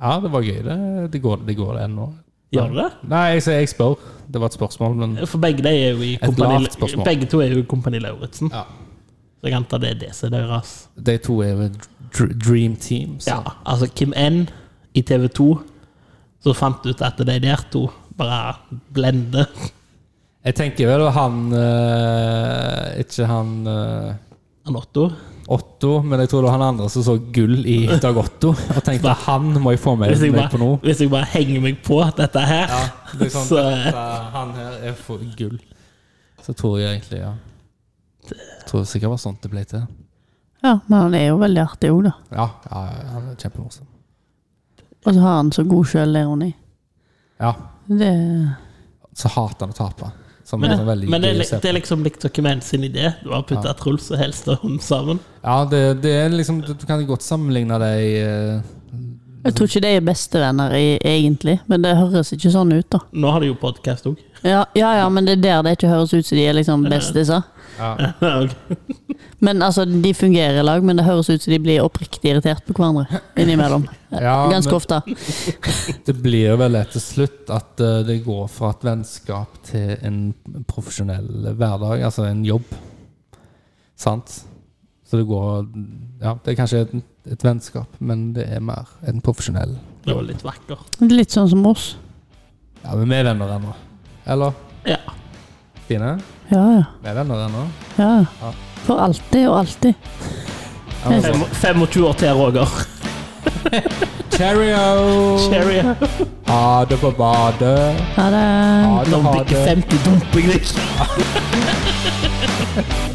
Ja, det var gøy. Det, det går, det går ennå.
Gjør du det?
Nei, jeg, jeg spør. Det var et spørsmål, men
For begge, de er jo i kompani,
lavt spørsmål.
begge to er jo i Kompani Lauritzen.
Ja.
Så jeg antar det er det som er deres
de to er jo dr- dream team. Så.
Ja, altså Kim N i TV 2 Så fant ut at de der to bare blender
Jeg tenker vel han eh, Ikke han eh,
han Otto.
Otto, men jeg tror det var han andre som så gull i Dag Otto, og
*laughs*
tenkte han må jeg få med
Hvis jeg
meg på
bare,
noe.
hvis jeg bare henger meg på dette her,
Ja, det er sånn,
så
dette- han her er for gull. Så tror jeg egentlig, ja. Jeg tror det sikkert var sånt det ble til.
Ja, men han er jo veldig artig òg, da.
Ja, ja han er kjempemorsom.
Og så har han så god sjølironi.
Ja,
Det
så hater han å tape. Som
men,
er sånn veldig
men det,
gøy
er,
å
li-
se på.
det er liksom likt Kim N sin idé. Du har putta Truls og Helstad sammen.
Ja, det, det er liksom Du kan godt sammenligne deg eh,
Jeg tror ikke de er bestevenner i, egentlig, men det høres ikke sånn ut, da.
*laughs* Nå har de jo podkast òg.
Ja, ja, ja, men det er der det ikke høres ut som de er liksom bestiser.
Ja.
Ok.
Men altså, De fungerer i lag, men det høres ut som de blir oppriktig irritert på hverandre innimellom.
Ja,
Ganske
men-
ofte.
Det blir vel til slutt at eh, det går fra et vennskap til en profesjonell hverdag, altså en jobb. Sant? Så det går Ja, det er kanskje et, et vennskap, men det er mer en profesjonell
Det var litt vakkert.
Det er Litt sånn som oss.
Ja, men vi er venner ennå. Eller?
Ja.
Stine?
Ja, ja.
Vi er venner ennå.
ja.
Ja.
ja. For alltid og alltid.
Ja,
Fem-
altså,
25 år til, Roger.
Cheerio!
Cherry.
Ha det på badet.
Ha det.
Ha det,
Når
ha
han bikker
det.
50, dumper jeg deg.